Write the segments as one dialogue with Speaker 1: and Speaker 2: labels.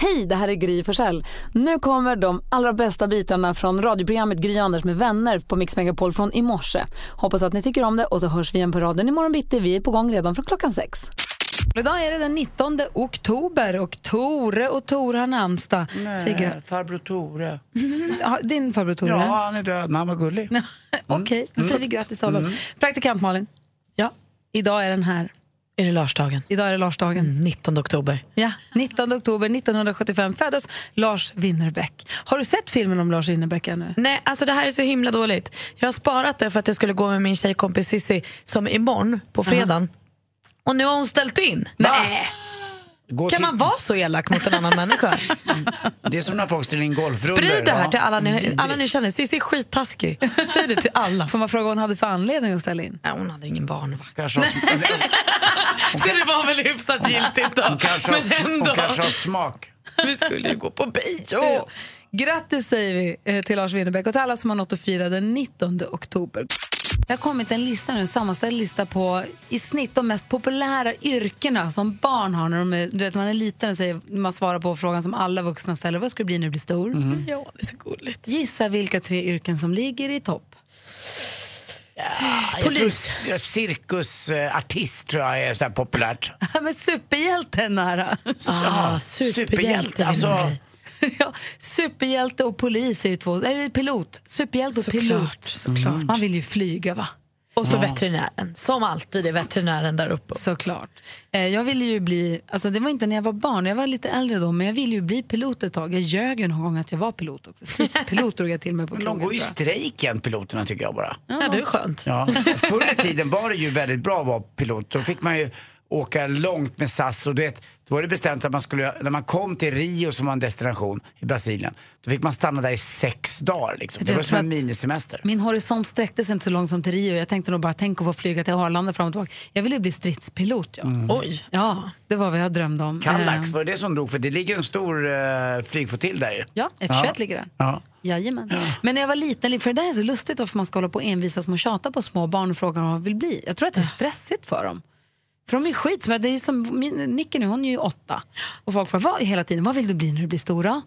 Speaker 1: Hej, det här är Gry Forssell. Nu kommer de allra bästa bitarna från radioprogrammet Gry Anders med vänner på Mix Megapol från i morse. Hoppas att ni tycker om det och så hörs vi igen på raden imorgon bitti. Vi är på gång redan från klockan sex. Idag är det den 19 oktober och Tore och Tore har namnsdag. Säger gra-
Speaker 2: Nej, Eh, farbror Tore.
Speaker 1: Ja, Din farbror Tore?
Speaker 2: Ja, han är död, men han var gullig. Mm.
Speaker 1: Okej, då säger vi grattis till honom. Praktikant Malin. Ja. Idag är den här.
Speaker 3: Är det Larsdagen?
Speaker 1: Idag är det Larsdagen.
Speaker 3: 19 oktober.
Speaker 1: Ja, 19 oktober 1975 föddes Lars Winnerbäck. Har du sett filmen om Lars Winnerbäck ännu?
Speaker 3: Nej, alltså det här är så himla dåligt. Jag har sparat det för att jag skulle gå med min tjejkompis Sissi som imorgon på fredagen. Och nu har hon ställt in. Nej.
Speaker 2: Gå
Speaker 3: Kan
Speaker 2: till-
Speaker 3: man vara så elak mot en annan människa?
Speaker 2: Det är som när folk ställer in golfrundor.
Speaker 3: Sprid det här
Speaker 2: va?
Speaker 3: till alla ni, alla ni känner. Sissi är skittaskig. Säg det till alla.
Speaker 1: Får man fråga vad hon hade för anledning att ställa in?
Speaker 3: Nej, hon hade ingen barnvakt.
Speaker 2: Kanske har sm-
Speaker 3: Så det var väl hyfsat giltigt då.
Speaker 2: hon kanske har,
Speaker 3: Men
Speaker 2: sm- hon
Speaker 3: ändå.
Speaker 2: kanske har smak.
Speaker 3: Vi skulle ju gå på bio.
Speaker 1: Eh, Grattis säger vi eh, till Lars Winnerbäck och till alla som har något att fira den 19 oktober. Det har kommit en lista nu, en sammanställd lista på i snitt de mest populära yrkena som barn har. När de är, du vet, man är liten och säger, man svarar på frågan som alla vuxna ställer. Vad ska du bli när du blir stor?
Speaker 3: Ja, det är så gulligt.
Speaker 1: Gissa vilka tre yrken som ligger i topp.
Speaker 2: Jag tror cirkusartist tror jag är så här populärt.
Speaker 1: Men superhjälte nära.
Speaker 3: Ah, superhjälte vill
Speaker 2: Alltså,
Speaker 3: man bli.
Speaker 1: Ja, superhjälte och polis är ju två... Nej, pilot. Superhjälte och
Speaker 3: Såklart,
Speaker 1: pilot.
Speaker 3: såklart.
Speaker 1: Man vill ju flyga, va?
Speaker 3: Och så veterinären. Som alltid är veterinären där uppe.
Speaker 1: Såklart. Eh, jag ville ju bli... Alltså det var inte när jag var barn, jag var lite äldre då, men jag ville ju bli pilot ett tag. Jag ljög ju någon gång att jag var pilot också. Pilot drog jag till mig på
Speaker 2: men de
Speaker 1: krogen.
Speaker 2: går i
Speaker 1: tror jag.
Speaker 2: strejk igen, piloterna tycker jag bara.
Speaker 3: Ja, det är skönt.
Speaker 2: Ja. Förr i tiden var det ju väldigt bra att vara pilot. Då fick man ju åka långt med SAS och du vet, då var det bestämt att man skulle, när man kom till Rio som var en destination i Brasilien, då fick man stanna där i sex dagar liksom. Det
Speaker 1: Jag
Speaker 2: var som
Speaker 1: tror
Speaker 2: en
Speaker 1: att-
Speaker 2: minisemester.
Speaker 1: Min horisont sträckte sig inte så långt som till Rio. Jag tänkte nog bara, tänk att få flyga till Arlanda fram och tillbaka. Jag ville ju bli stridspilot, ja.
Speaker 3: Oj.
Speaker 1: Ja, det var vad jag drömde om.
Speaker 2: Kallax,
Speaker 1: Eh,
Speaker 2: var det det som drog? För det ligger en stor uh, flygflottilj där ju.
Speaker 1: Ja, F21 ligger där.
Speaker 2: Ja.
Speaker 1: Jajamän. Men när jag var liten, för det där är så lustigt varför man ska hålla på och envisas med att tjata på små barn och fråga vad de vill bli. Jag tror att det är stressigt för dem. För de är skit, det är som min, Nicky nu, hon är ju åtta. Och folk frågar vad, hela tiden, vad vill du bli när du blir stora?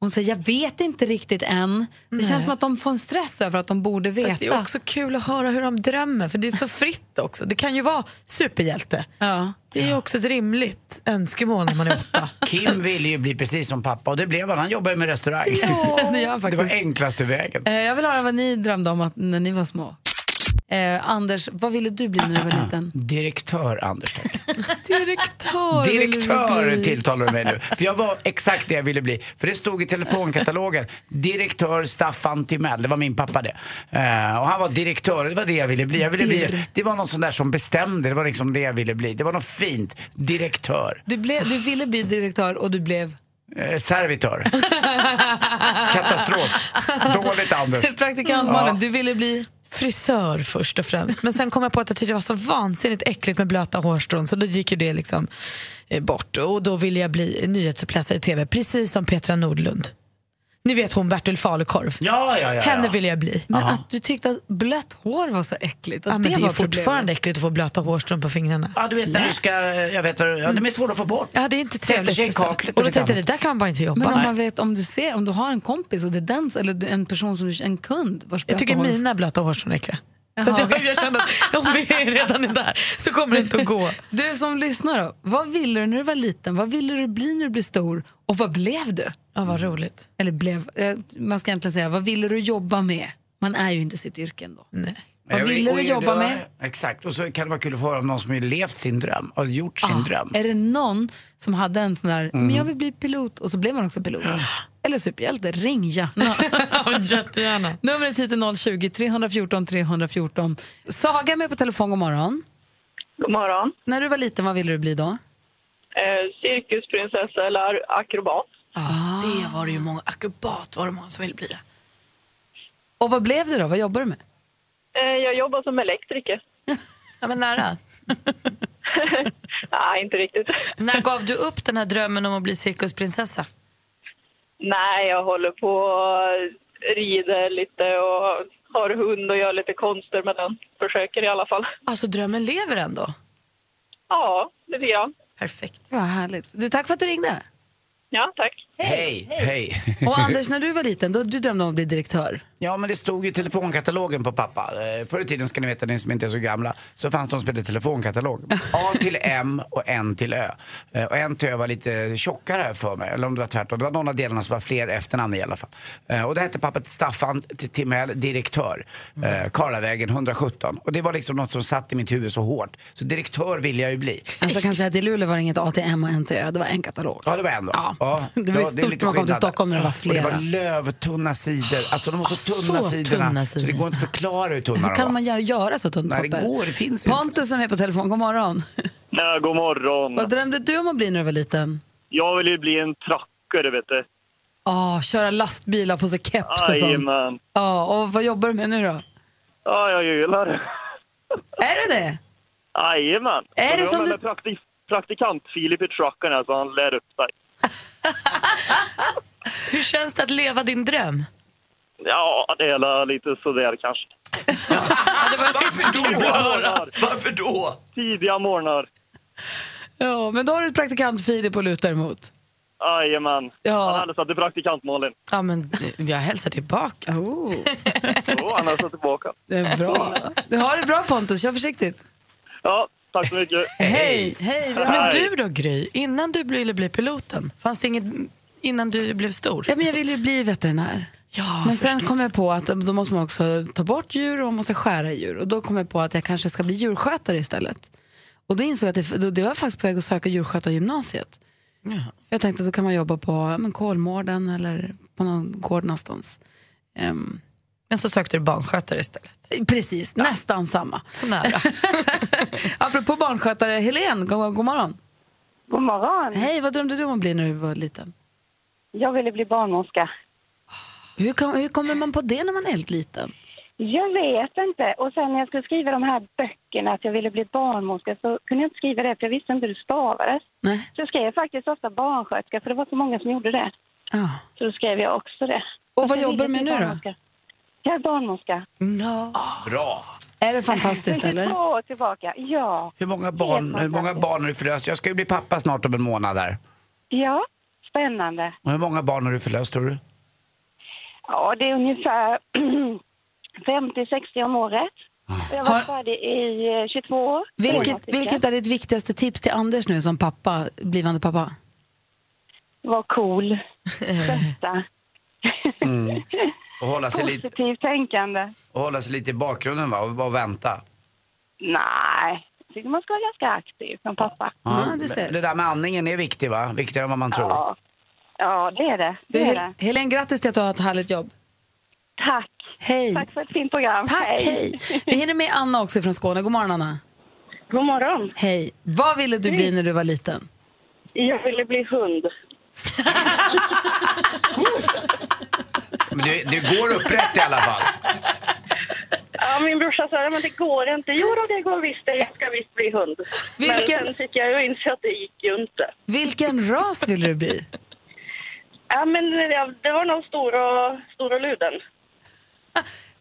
Speaker 1: Hon säger, jag vet inte riktigt än. Det känns som att de får en stress över att de borde veta.
Speaker 3: Fast det är också kul att höra hur de drömmer, för det är så fritt också. Det kan ju vara superhjälte.
Speaker 1: Ja.
Speaker 3: Det är ju också ett rimligt önskemål när man är åtta.
Speaker 2: Kim ville ju bli precis som pappa och det blev han. Han jobbar ju med restaurang.
Speaker 1: Det gör han
Speaker 2: det
Speaker 1: faktiskt.
Speaker 2: var enklaste vägen.
Speaker 1: Eh, Jag vill höra vad ni drömde om att, när ni var små. Eh, Anders, vad ville du bli när du var liten?
Speaker 2: Direktör Andersson.
Speaker 3: Direktör
Speaker 2: Direktör tilltalar du mig nu. För jag var exakt det jag ville bli. För det stod i telefonkatalogen. Direktör Staffan Timell. Det var min pappa det. Eh, och han var direktör. Det var det jag ville bli. Jag ville bli. Det var någon sån där som bestämde. Det var liksom det jag ville bli. Det var något fint. Direktör.
Speaker 1: Du, blev, du ville bli direktör och du blev?
Speaker 2: Eh, servitör. Katastrof. Dåligt Anders.
Speaker 1: Praktikant Malin, du ville bli?
Speaker 3: Frisör först och främst. Men sen kom jag på att jag tyckte det var så vansinnigt äckligt med blöta hårstrån så då gick ju det liksom eh, bort. Och då ville jag bli nyhetsuppläsare i TV, precis som Petra Nordlund. Ni vet hon Bertil Falukorv.
Speaker 2: Ja, ja, ja.
Speaker 3: Henne
Speaker 2: ja.
Speaker 3: ville jag bli.
Speaker 1: Men att du tyckte att blött hår var så äckligt. Att
Speaker 3: Ja, men det,
Speaker 1: var
Speaker 3: är fortfarande äckligt att få blöta hårstrån på fingrarna.
Speaker 2: Ja, du vet när du ska, eh, jag vet vad du, ja, de är svåra att få bort.
Speaker 3: Ja, det är inte
Speaker 2: Sätter
Speaker 3: trevligt.
Speaker 2: sig i
Speaker 3: alltså.
Speaker 2: kaklet
Speaker 3: och då
Speaker 2: lite
Speaker 3: tänkte jag,
Speaker 2: annat.
Speaker 3: det där kan man bara inte jobba
Speaker 1: problemet. Men om man
Speaker 3: med.
Speaker 1: vet, om du ser, om du har en kompis och det är den, eller en person som du- en kund vars
Speaker 3: Jag tycker
Speaker 1: blöta hår-
Speaker 3: mina blöta hårstrån är äckliga. Så
Speaker 1: Jaha.
Speaker 3: att jag, jag kände att om det är redan är där så kommer det inte att gå.
Speaker 1: Du som lyssnar då, vad ville du när du var liten? Vad ville du bli när du blev stor? Och vad blev du?
Speaker 3: Ja, vad roligt.
Speaker 1: Eller blev, eh, man ska egentligen säga, vad ville du jobba med? Man är ju inte sitt yrke ändå.
Speaker 3: Nej.
Speaker 1: Vad ville
Speaker 2: Och-
Speaker 1: du
Speaker 2: och-
Speaker 1: jobba
Speaker 2: det var-
Speaker 1: med?
Speaker 2: Exakt, och så kan det vara kul att få höra om någon som har levt sin dröm, har gjort sin dröm.
Speaker 1: Ah, Är det någon som hade en sån där,
Speaker 3: Mm.
Speaker 1: men jag vill bli pilot och så blev man också pilot. Eller superhjälte, ring gärna.
Speaker 3: Ja, jättegärna.
Speaker 1: Numret hit är 020 314 314. Saga är med på telefon, god morgon.
Speaker 4: God morgon.
Speaker 1: När du var liten, vad ville du bli då?
Speaker 4: Eh, cirkusprinsessa eller akrobat?
Speaker 3: Det var det ju många, akrobat var det många som ville bli.
Speaker 1: Och vad blev du då? Vad jobbar du med?
Speaker 4: Eh, jag jobbar som elektriker.
Speaker 3: Ja, men nära.
Speaker 4: Nej, inte riktigt.
Speaker 3: När gav du upp den här drömmen om att bli cirkusprinsessa?
Speaker 4: Nej, jag håller på och rider lite och har hund och gör lite konster med den. Försöker i alla fall.
Speaker 3: Alltså drömmen lever ändå.
Speaker 4: Ja, lite grann.
Speaker 3: Perfekt.
Speaker 1: Vad härligt. Du, tack för att du ringde.
Speaker 4: Ja, tack.
Speaker 2: Hej, hej.
Speaker 1: Och Anders, när du var liten, då, du drömde om att bli direktör.
Speaker 2: Ja, men det stod ju i telefonkatalogen på pappa. Eh, Förr i tiden, ska ni veta, ni som inte är så gamla, så fanns de som hette telefonkatalog. A till M och N till Ö. Eh, Och N till Ö var lite tjockare här för mig, eller om det var tvärtom. Det var någon av delarna som var fler efternamn i alla fall. Eh, Och det hette pappa till Staffan T- Timell, direktör. Eh, Karlavägen 117. Och det var liksom något som satt i mitt huvud så hårt. Så direktör ville jag ju bli.
Speaker 1: Alltså, jag kan säga att i Luleå var det inget ATM och NTÖ, det var en katalog.
Speaker 2: Ja, det var en då.
Speaker 1: Ja. Det var ju
Speaker 2: är
Speaker 1: stort
Speaker 2: lite
Speaker 1: när man kom till
Speaker 2: skillnad.
Speaker 1: Stockholm när det var flera. Ah,
Speaker 2: Och det var lövtunna sidor. Alltså de var så tunna
Speaker 3: så
Speaker 2: sidorna.
Speaker 3: tunna
Speaker 2: Så det
Speaker 3: sidor.
Speaker 2: går inte att förklara hur tunna
Speaker 1: Hur
Speaker 2: de var.
Speaker 1: kan man göra- göra så tunt
Speaker 2: Nej, det
Speaker 1: papper?
Speaker 2: går, det finns inte.
Speaker 1: Pontus som är på telefon, god morgon.
Speaker 5: Ja, god morgon.
Speaker 1: Vad drömde du om att bli när du var liten?
Speaker 5: Jag vill ju bli en trucker, vet du.
Speaker 1: Ja, Ah, köra lastbilar på sig keps och sånt.
Speaker 5: Jajamän.
Speaker 1: Ja, och vad jobbar du med nu då?
Speaker 5: Ja, jag gillar det.
Speaker 1: Är du det?
Speaker 5: Jajamän.
Speaker 1: Är det
Speaker 5: Jag
Speaker 1: som
Speaker 5: med
Speaker 1: du-
Speaker 5: med praktik praktikant Filip i trucken, alltså han lär upp sig.
Speaker 3: Hur känns det att leva din dröm?
Speaker 5: Ja, det är lite sådär kanske.
Speaker 2: Varför då?
Speaker 5: höra.
Speaker 2: Varför då?
Speaker 5: Tidiga morgnar.
Speaker 1: Ja, men då har du ett praktikant Filip att luta emot.
Speaker 5: Jajamän.
Speaker 1: Ja.
Speaker 5: Han hälsar till praktikantmålen.
Speaker 3: Ja, men jag hälsar tillbaka.
Speaker 1: Oh,
Speaker 5: Jo, han hälsar tillbaka.
Speaker 1: det är bra. Du har det bra Pontus, kör försiktigt.
Speaker 5: Ja, tack så mycket.
Speaker 1: Hej! Hej! vi har-
Speaker 3: Men
Speaker 5: Hej.
Speaker 3: du då Gry, innan du ville bli piloten, fanns det inget innan du blev stor?
Speaker 1: Ja, men jag ville ju bli veterinär.
Speaker 3: Ja,
Speaker 1: Men sen kom jag på att då måste man också ta bort djur och man måste skära djur. Och då kom jag på att jag kanske ska bli djurskötare istället. Och då insåg jag att det, då- det var jag faktiskt på väg att söka djurskötargymnasiet. Jag tänkte att då kan man jobba på ja, men Kolmården eller på någon gård någonstans. Ehm,
Speaker 3: Men så sökte du barnskötare istället.
Speaker 1: precis, nästan samma.
Speaker 3: Så nära.
Speaker 1: Apropå barnskötare, Helene, god, god morgon.
Speaker 6: God morgon.
Speaker 1: Hej, vad drömde du om att bli när du var liten?
Speaker 6: Jag ville bli barnmorska.
Speaker 1: Hur, kom, hur kommer man på det när man är helt liten?
Speaker 6: Jag vet inte. Och sen när jag skulle skriva de här böckerna att jag ville bli barnmorska så kunde jag inte skriva det för jag visste inte hur det stavades.
Speaker 1: Nej.
Speaker 6: Så jag skrev faktiskt ofta barnsköterska för det var så många som gjorde det.
Speaker 1: Ja.
Speaker 6: Så då skrev jag också det.
Speaker 1: Och
Speaker 6: Fast
Speaker 1: vad
Speaker 6: jag
Speaker 1: jobbar du
Speaker 6: ville
Speaker 1: med nu då?
Speaker 6: bli barnmorska. Jag är barnmska.
Speaker 3: No.
Speaker 2: Bra.
Speaker 1: Är det fantastiskt
Speaker 6: Sen
Speaker 1: eller?
Speaker 6: två år tillbaka. Ja.
Speaker 2: Hur många barn, hur många barn har du förlöst? Jag ska ju bli pappa snart om en månad där.
Speaker 6: Ja. Spännande.
Speaker 2: Och hur många barn har du förlöst tror du?
Speaker 6: Ja, det är ungefär 50-60 om året. Och jag
Speaker 1: Ah. Har-
Speaker 6: var färdig i eh, 22 år.
Speaker 1: Vilket, vilket är ditt viktigaste tips till Anders nu som pappa, blivande pappa?
Speaker 6: Var cool. Stötta.
Speaker 2: Och hålla sig lite,
Speaker 6: Positivt tänkande.
Speaker 2: och hålla sig lite i bakgrunden va? Och bara vänta.
Speaker 6: Nej, jag tycker man ska vara ganska aktiv som pappa.
Speaker 1: Ja, du ser.
Speaker 2: men Det där med andningen är viktigt va? Viktigare än vad man tror.
Speaker 6: Ja, ja det är det.
Speaker 1: Du,
Speaker 6: det, är
Speaker 1: Hel-
Speaker 6: det.
Speaker 1: Helene, grattis till att du har ett härligt jobb.
Speaker 6: Tack.
Speaker 1: Hej!
Speaker 6: Tack för ett fint program.
Speaker 1: Tack, hej! Vi hinner med Anna också från Skåne. God morgon Anna!
Speaker 6: God morgon.
Speaker 1: Hej! Vad ville du bli när du var liten?
Speaker 6: Jag ville bli hund.
Speaker 2: Men du, du går upprätt i alla fall.
Speaker 6: Ja, min brorsa sa men det går inte. Jo, då, det går visst. det. Jag ska visst bli hund.
Speaker 1: Vilken-
Speaker 6: Men sen fick jag ju inse att det gick ju inte.
Speaker 1: Vilken ras ville du bli?
Speaker 6: Ja, men det, det var nog stor och, stor och luden.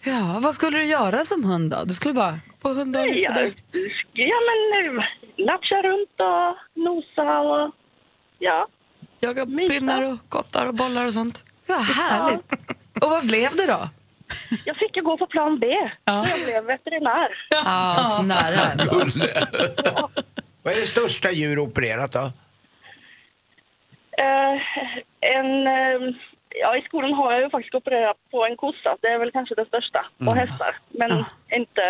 Speaker 1: Ja, vad skulle du göra som hund då? Du skulle bara...
Speaker 3: På hunddagis
Speaker 6: Ja,
Speaker 3: för dig.
Speaker 6: ja men eh, latcha runt och nosa och... Ja.
Speaker 3: Jaga pinnar och kottar och bollar och sånt.
Speaker 1: Ja, härligt! Och vad blev du då?
Speaker 6: Jag fick ju gå på plan B. Så jag blev veterinär.
Speaker 3: Ja, så nära. ändå.
Speaker 2: Vad är det största djur opererat då?
Speaker 6: Eh, en, eh, ja, I skolan har jag ju faktiskt opererat på en kossa. Det är väl kanske det största. Och hästar. Men inte,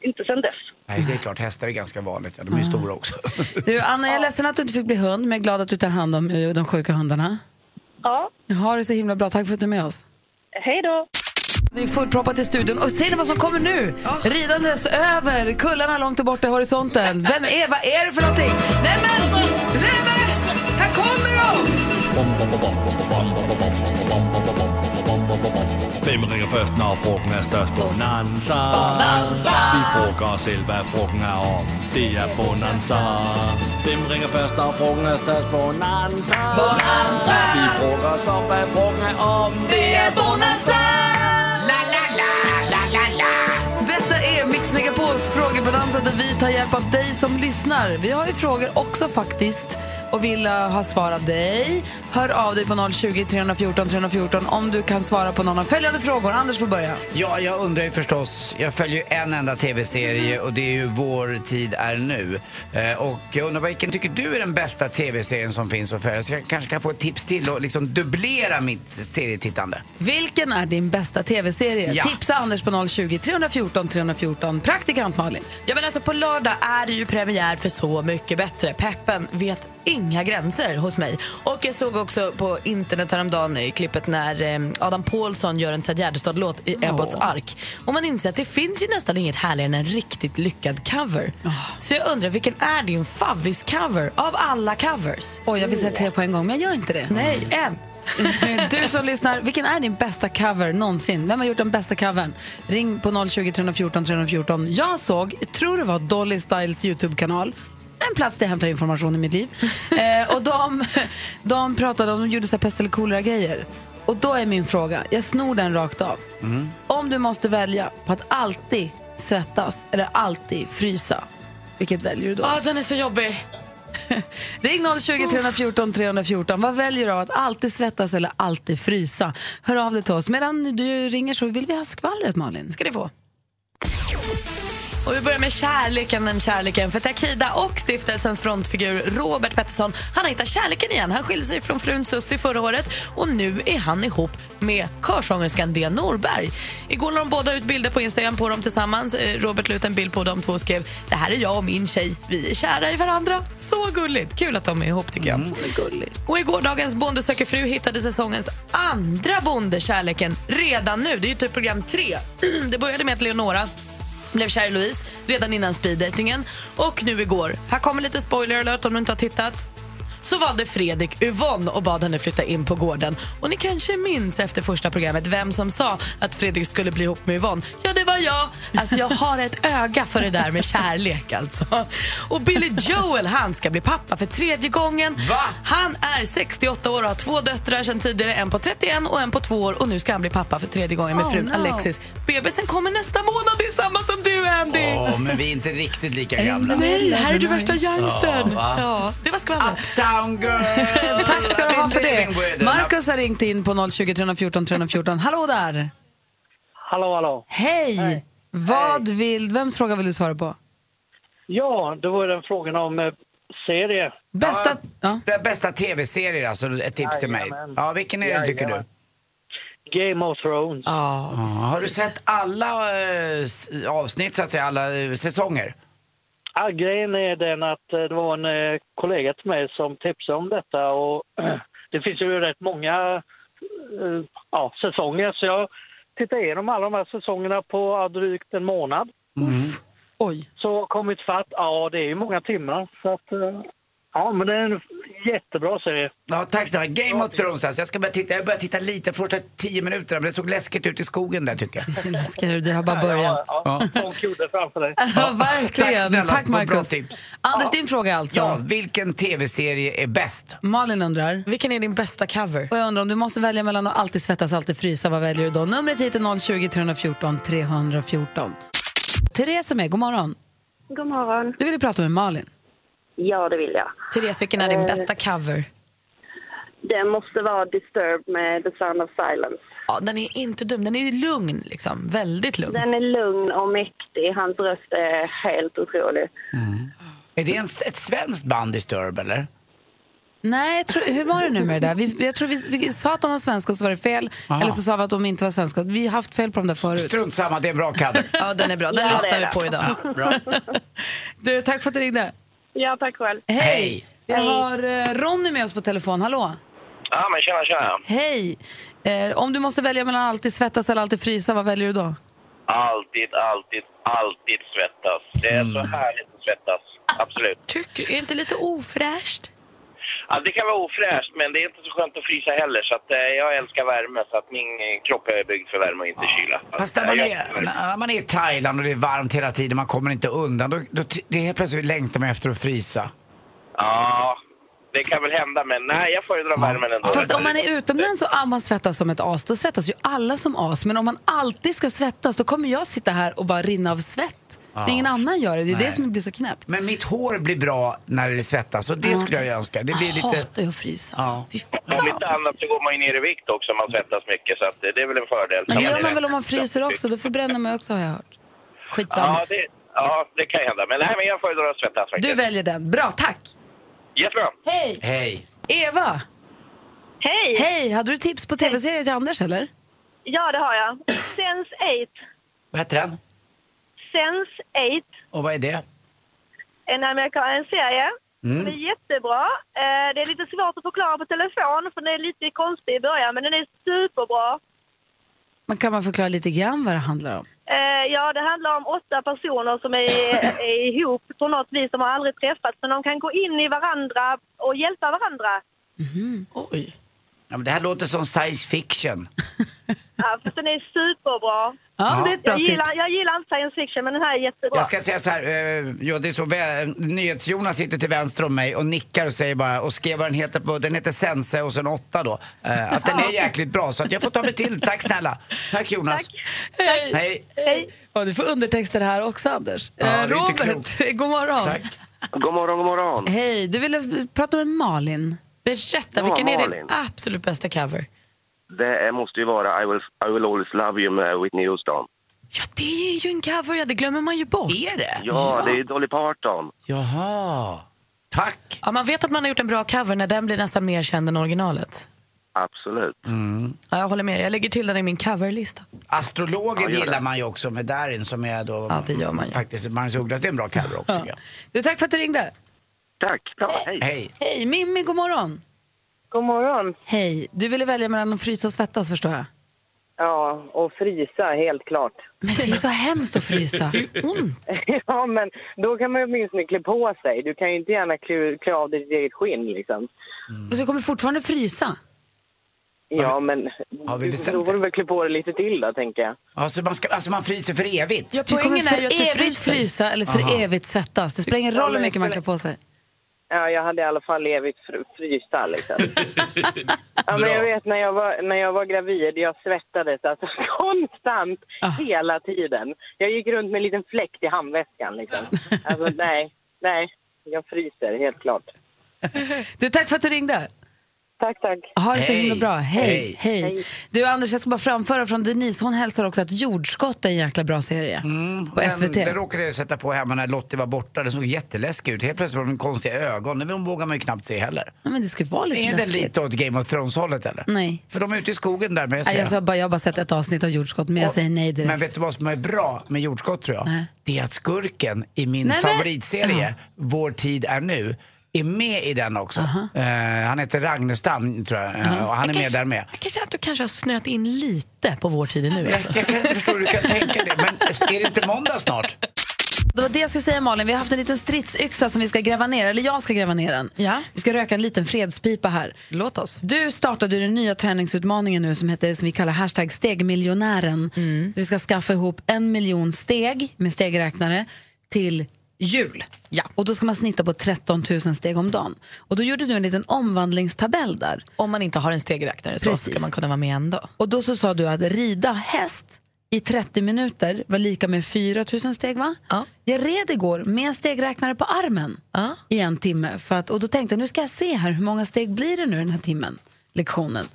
Speaker 6: inte sen dess.
Speaker 2: Nej, det är klart hästar är ganska vanligt. Ja, de är ju stora också.
Speaker 1: Du, Anna, jag är ledsen att du inte fick bli hund, men jag är glad att du tar hand om eh, de sjuka hundarna.
Speaker 6: Ja,
Speaker 1: Ha det så himla bra. Tack för att du är med oss.
Speaker 6: hej då!
Speaker 1: Det är fullproppat i studion. Och ser ni vad som kommer nu? Ridandes över kullarna långt där borta i horisonten. Vem är, vad är det för någonting? Nej men! Nej men! Här kommer de!
Speaker 7: Vem ringer först när frågan är störst? Bonanza! Vi frågar oss själva vad frågan är om. Det är bonanza! Vem ringer först när frågan är störst? Bonanza! Vi frågar oss om vad frågan är om. Det är bonanza!
Speaker 1: Detta är Mix Megapols frågebonanza där vi tar hjälp av dig som lyssnar. Vi har ju frågor också faktiskt och vill eh, ha svar av dig. Hör av dig på 020 314 314 om du kan svara på någon av följande frågor. Anders får börja.
Speaker 2: Ja, jag undrar ju förstås. Jag följer ju en enda tv-serie
Speaker 1: Mm-hmm.
Speaker 2: och det är ju Vår tid är nu. Eh, och jag undrar vilken tycker du är den bästa tv-serien som finns att följa? Så jag kanske kan få ett tips till och liksom dubblera mitt serietittande.
Speaker 1: Vilken är din bästa tv-serie?
Speaker 2: Ja.
Speaker 1: Tipsa Anders på 020 314 314. Praktikant Malin.
Speaker 3: Ja, men alltså på lördag är det ju premiär för Så mycket bättre. Peppen vet inga gränser hos mig. Och jag såg också på internet häromdagen i klippet när eh, Adam Pålsson gör en Ted Gärdestad-låt i Ebbots ark. Och man inser att det finns ju nästan inget härligare än en riktigt lyckad cover. Så jag undrar, vilken är din favvis-cover av alla covers?
Speaker 1: Oj, jag vill säga tre på en gång, men jag gör inte det.
Speaker 3: Nej, en.
Speaker 1: Du som lyssnar, vilken är din bästa cover någonsin? Vem har gjort den bästa covern? Ring på 020 314 314. Jag såg, tror det var Dolly Styles YouTube-kanal, en plats där jag hämtar information i mitt liv. eh, och de, de pratade om, de gjorde så här pest eller kolera-grejer. Och då är min fråga, jag snor den rakt av. Om du måste välja på att alltid svettas eller alltid frysa, vilket väljer du då?
Speaker 3: Ja, den är så jobbig.
Speaker 1: Ring 020 314 314. Vad väljer du av att alltid svettas eller alltid frysa? Hör av dig till oss. Medan du ringer så vill vi ha skvallret, Malin.
Speaker 3: ska ni få. Och vi börjar med kärleken, den kärleken. För Takida och stiftelsens frontfigur Robert Pettersson, han har hittat kärleken igen. Han skilde sig från frun Sussi förra året och nu är han ihop med körsångerskan Dea Norberg. Igår la de båda ut bilder på Instagram på dem tillsammans. Eh, Robert la ut en bild på de två och skrev “Det här är jag och min tjej. Vi är kära i varandra.” Så gulligt! Kul att de är ihop tycker jag. Och i gårdagens Bonde söker fru hittade säsongens andra bonde kärleken redan nu. Det är ju typ program tre. Det började med att Leonora blev kär i Louise redan innan speeddatingen. Och nu igår, här kommer lite spoiler alert om du inte har tittat. Så valde Fredrik Yvonne och bad henne flytta in på gården. Och ni kanske minns efter första programmet vem som sa att Fredrik skulle bli ihop med Yvonne. Ja, det var jag. Alltså jag har ett öga för det där med kärlek alltså. Och Billy Joel, han ska bli pappa för tredje gången.
Speaker 2: Va?
Speaker 3: Han är 68 år och har två döttrar sedan tidigare. En på 31 och en på 2 år. Och nu ska han bli pappa för tredje gången med
Speaker 1: Oh,
Speaker 3: frun
Speaker 1: no.
Speaker 3: Alexis. Bebisen kommer nästa månad. Det är samma som du, Andy.
Speaker 2: Åh, men vi är inte riktigt lika gamla.
Speaker 3: Nej, här är du värsta
Speaker 2: Ja,
Speaker 3: youngstern.
Speaker 2: va?
Speaker 3: Ja, det var skvallret.
Speaker 2: Uptown girl!
Speaker 1: Tack ska du ha för det. Markus har ringt in på 020 314 314. Hallå där!
Speaker 5: Hallå, hallå.
Speaker 1: Hej! Vad vill, vems fråga vill du svara på?
Speaker 5: Ja, då var den frågan om eh, serie.
Speaker 1: Bästa... Ja.
Speaker 2: Ja. Bästa tv-serier alltså, ett tips till mig.
Speaker 5: Jajamän.
Speaker 2: Ja, vilken är det tycker du?
Speaker 5: Jajamän. Game of Thrones.
Speaker 3: Ja.
Speaker 2: Ja, har du sett alla eh, s- avsnitt, så att säga, alla eh, säsonger?
Speaker 5: Ja, grejen är den att eh, det var en eh, kollega till mig som tipsade om detta och det finns ju rätt många eh, ja, säsonger så jag tittade igenom alla de här säsongerna på ja, drygt en månad.
Speaker 1: Oj.
Speaker 5: Så kommit fatt, ja det är ju många timmar så att eh, ja men det är en jättebra serie.
Speaker 2: Ja, tack snälla. Game of Thrones alltså. Jag ska börja titta, jag börjar titta lite första tio minuterna, men det såg läskigt ut i skogen där tycker jag.
Speaker 1: Vilken läskare du det har bara börjat.
Speaker 5: Ja, ja, Tom Kudde framför dig.
Speaker 1: Ja, verkligen.
Speaker 2: Tack snälla,
Speaker 1: Tack,
Speaker 2: vad bra
Speaker 1: Markus.
Speaker 2: tips.
Speaker 1: Anders, din fråga alltså.
Speaker 2: Ja, vilken tv-serie är bäst?
Speaker 1: Malin undrar.
Speaker 3: Vilken är din bästa cover?
Speaker 1: Och jag undrar om du måste välja mellan att alltid svettas, alltid frysa, vad väljer du då? Numret hit är 020 314 314. Therese är med, god morgon.
Speaker 6: God morgon.
Speaker 1: Du ville prata med Malin.
Speaker 6: Ja, det vill jag.
Speaker 3: Therese, vilken är din bästa cover?
Speaker 6: Det måste vara Disturbed med The Sound of Silence.
Speaker 3: Ja, den är inte dum. Den är lugn, liksom. Väldigt lugn.
Speaker 6: Den är lugn och mäktig. Hans röst är helt otrolig.
Speaker 2: Är det en, s- ett svenskt band Disturb eller?
Speaker 1: Nej, jag tror, hur var det nu med det där? Vi, jag tror vi, vi sa att de var svenska och så var det fel.
Speaker 2: Aha.
Speaker 1: Eller så sa vi att de inte var svenska. Vi har haft fel på de där förut.
Speaker 2: Strunt samma, det är en bra cover.
Speaker 3: Ja, den är bra. Den
Speaker 6: Ja, det
Speaker 3: lyssnar
Speaker 6: är
Speaker 3: vi
Speaker 6: det.
Speaker 3: på idag.
Speaker 2: Bra.
Speaker 1: Du, tack för att du ringde.
Speaker 6: Ja, tack själv.
Speaker 2: Hej!
Speaker 1: Vi har eh, Ronny med oss på telefon, hallå.
Speaker 5: Ja men tjena tjena.
Speaker 1: Hej. Eh, om du måste välja mellan alltid svettas eller alltid frysa, vad väljer du då?
Speaker 8: Alltid, alltid, alltid
Speaker 1: Mm.
Speaker 8: svettas. Det är så härligt att svettas. Absolut.
Speaker 3: Tycker, är det inte lite ofräscht?
Speaker 8: Ja, det kan vara ofräscht, men det är inte så skönt att frysa heller. Så att, eh, jag älskar värme, så att min eh, kropp är byggd för värme och inte kyla.
Speaker 2: Fast
Speaker 8: Så
Speaker 2: när
Speaker 8: att,
Speaker 2: man,
Speaker 8: eh,
Speaker 2: är, när man är i Thailand och det är varmt hela tiden, man kommer inte undan. Då, då, t- det är helt plötsligt längtar man efter att frysa.
Speaker 8: Ja, det kan väl hända, men nej, jag föredrar värmen ändå.
Speaker 1: Fast om man är utomlands och ah, man svettas som ett as, då svettas ju alla som as. Men om man alltid ska svettas, då kommer jag sitta här och bara rinna av svett.
Speaker 2: Ja.
Speaker 1: Det är ingen annan gör det, det är
Speaker 2: Nej.
Speaker 1: det som blir så knäppt.
Speaker 2: Men mitt hår blir bra när det svettas och det
Speaker 1: Ja.
Speaker 2: skulle jag önska. Det blir
Speaker 1: Jag
Speaker 2: lite...
Speaker 1: hatar ju att frysa. alltså.
Speaker 2: Ja.
Speaker 8: Om inte annat så går man ju ner i vikt också om man svettas mycket, så att, eh, det är väl en fördel.
Speaker 1: Men det gör man väl om man fryser också, då förbränner man ju också har jag hört. Skitsamma.
Speaker 8: Ja, det, ja, det kan hända. Men, nej, men jag föredrar att svettas
Speaker 1: Du
Speaker 8: faktiskt.
Speaker 1: väljer den. Bra, tack!
Speaker 8: Jättebra.
Speaker 1: Hej!
Speaker 2: Hej!
Speaker 1: Eva!
Speaker 9: Hej!
Speaker 1: Hej! Hade du tips på tv-serier till Anders eller?
Speaker 9: Ja, det har jag. Sense 8.
Speaker 2: Vad heter den?
Speaker 9: Sense 8,
Speaker 2: Och vad är det?
Speaker 9: en amerikansk serie.
Speaker 2: Mm.
Speaker 9: Den är jättebra. Eh, Det är lite svårt att förklara på telefon för den är lite konstig i början, men den är superbra.
Speaker 1: Man kan man förklara lite grann vad det handlar om?
Speaker 9: Eh, Ja, det handlar om åtta personer som är, är ihop på något vis. De har aldrig träffats, men de kan gå in i varandra och hjälpa varandra.
Speaker 2: Oj. Ja, men det här låter som science fiction.
Speaker 9: Ja, för den är superbra.
Speaker 2: Ja, det är ett bra
Speaker 9: jag, gillar,
Speaker 2: tips.
Speaker 9: jag gillar inte science fiction, men den här är jättebra.
Speaker 2: Jag ska säga så här, eh, ja, det är så vä- NyhetsJonas sitter till vänster om mig och nickar och säger bara, och skrev vad den heter på, den heter Sense och sen åtta då. Eh, att den är jäkligt bra så att jag får ta mig till, tack snälla. Tack Jonas.
Speaker 1: Hej!
Speaker 2: Hej.
Speaker 1: Ja, du får undertexter här också Anders.
Speaker 2: Ja, det är
Speaker 1: Eh,
Speaker 2: inte
Speaker 1: Robert,
Speaker 2: klokt.
Speaker 1: god morgon!
Speaker 10: God morgon, god morgon.
Speaker 1: Hej, du ville prata med Malin. Berätta,
Speaker 10: Ja, vilken är din Malin.
Speaker 1: absolut bästa cover?
Speaker 10: Det är- måste ju vara I will, I will always love you med Whitney Houston.
Speaker 3: Det är ju en cover, ja, det glömmer man ju bort.
Speaker 2: Är det?
Speaker 10: Ja, det är ju Dolly Parton.
Speaker 2: Jaha. Tack.
Speaker 3: Ja, man vet att man har gjort en bra cover när den blir nästan mer känd än originalet.
Speaker 10: Absolut.
Speaker 3: Ja, jag håller med, jag lägger till den i min coverlista.
Speaker 2: Astrologen
Speaker 3: Ja, gör det.
Speaker 2: gillar man ju också med Darin som är då... Ja, det gör man ju. Faktiskt, Magnus Ugglas, det är en bra cover också. Ja.
Speaker 1: Du, tack för att du ringde.
Speaker 10: Tack. Bra,
Speaker 2: hej.
Speaker 1: Hej, Mimmi, god morgon.
Speaker 11: God morgon.
Speaker 1: Hej, du ville välja mellan att frysa och svettas förstår jag.
Speaker 11: Ja, och frysa helt klart.
Speaker 1: Men det är ju så hemskt att frysa.
Speaker 11: ja, men då kan man ju åtminstone klä på sig. Du kan ju inte gärna klä, klä av dig ditt eget skinn liksom.
Speaker 1: Fast jag kommer fortfarande frysa.
Speaker 11: Ja, men
Speaker 2: har vi bestämt
Speaker 11: då får du väl klä på dig lite till då, tänker jag.
Speaker 2: Alltså, man ska, alltså man fryser för evigt.
Speaker 1: Du kommer för evigt frysa eller för
Speaker 2: Aha.
Speaker 1: evigt svettas. Det spelar ingen roll hur mycket man klär på sig.
Speaker 11: Ja, jag hade i alla fall evigt fr- frysta liksom. ja, men
Speaker 1: Bra.
Speaker 11: jag vet när jag, var, när jag var gravid, jag svettades alltså konstant
Speaker 2: Ah.
Speaker 11: hela tiden. Jag gick runt med en liten fläkt i handväskan liksom. Alltså nej, nej, jag fryser helt klart.
Speaker 1: Du, tack för att du ringde.
Speaker 11: Tack, tack.
Speaker 1: Ha det så
Speaker 11: Hej.
Speaker 1: himla bra. Hej,
Speaker 11: Hej.
Speaker 1: hej.
Speaker 11: Hej.
Speaker 1: Du Anders, jag ska bara framföra från Denise. Hon hälsar också att Jordskott är en jäkla bra serie.
Speaker 2: Mm.
Speaker 1: på
Speaker 2: Men
Speaker 1: SVT.
Speaker 2: Det råkade jag sätta på hemma när Lottie var borta. Den såg jätteläskig ut. Helt plötsligt var de konstiga ögon. Den vågar man ju knappt se heller.
Speaker 1: Ja, men det ska ju vara lite
Speaker 2: Är den
Speaker 1: läskigt.
Speaker 2: lite åt Game of Thrones-hållet eller?
Speaker 1: Nej.
Speaker 2: För de är ute i skogen där med
Speaker 1: Nej, Jag, sa bara, jag har bara sett ett avsnitt av Jordskott, men jag säger nej direkt.
Speaker 2: Men vet du vad som är bra med Jordskott tror jag? Det är att skurken i min
Speaker 1: Nej, men-
Speaker 2: favoritserie, Vår tid är nu, är med i den också. Eh, han heter Ragnestam tror jag eh, och han är med där med.
Speaker 3: Jag kan känna att du kanske har snöat in lite på vår tid nu. Alltså.
Speaker 2: Jag kan inte förstå hur du kan tänka det, men är det inte måndag snart?
Speaker 1: Det var det jag skulle säga Malin, vi har haft en liten stridsyxa som vi ska gräva ner, eller jag ska gräva ner den. Ja. Vi ska röka en liten fredspipa här.
Speaker 3: Låt oss.
Speaker 1: Du startade ju den nya träningsutmaningen nu som, heter, som vi kallar hashtag stegmiljonären. Vi ska skaffa ihop en miljon steg med stegräknare till jul. Ja. Och då ska man snitta på 13 000 steg om dagen. Och då gjorde du en liten omvandlingstabell där.
Speaker 3: Om man inte har en stegräknare så
Speaker 1: Precis.
Speaker 3: ska man kunna vara med ändå.
Speaker 1: Och då så sa du att rida häst i 30 minuter var lika med 4 000 steg va? Jag red igår med en stegräknare på armen i en timme. För att, och då tänkte jag nu ska jag se här hur många steg blir det nu den här timmen, lektionen.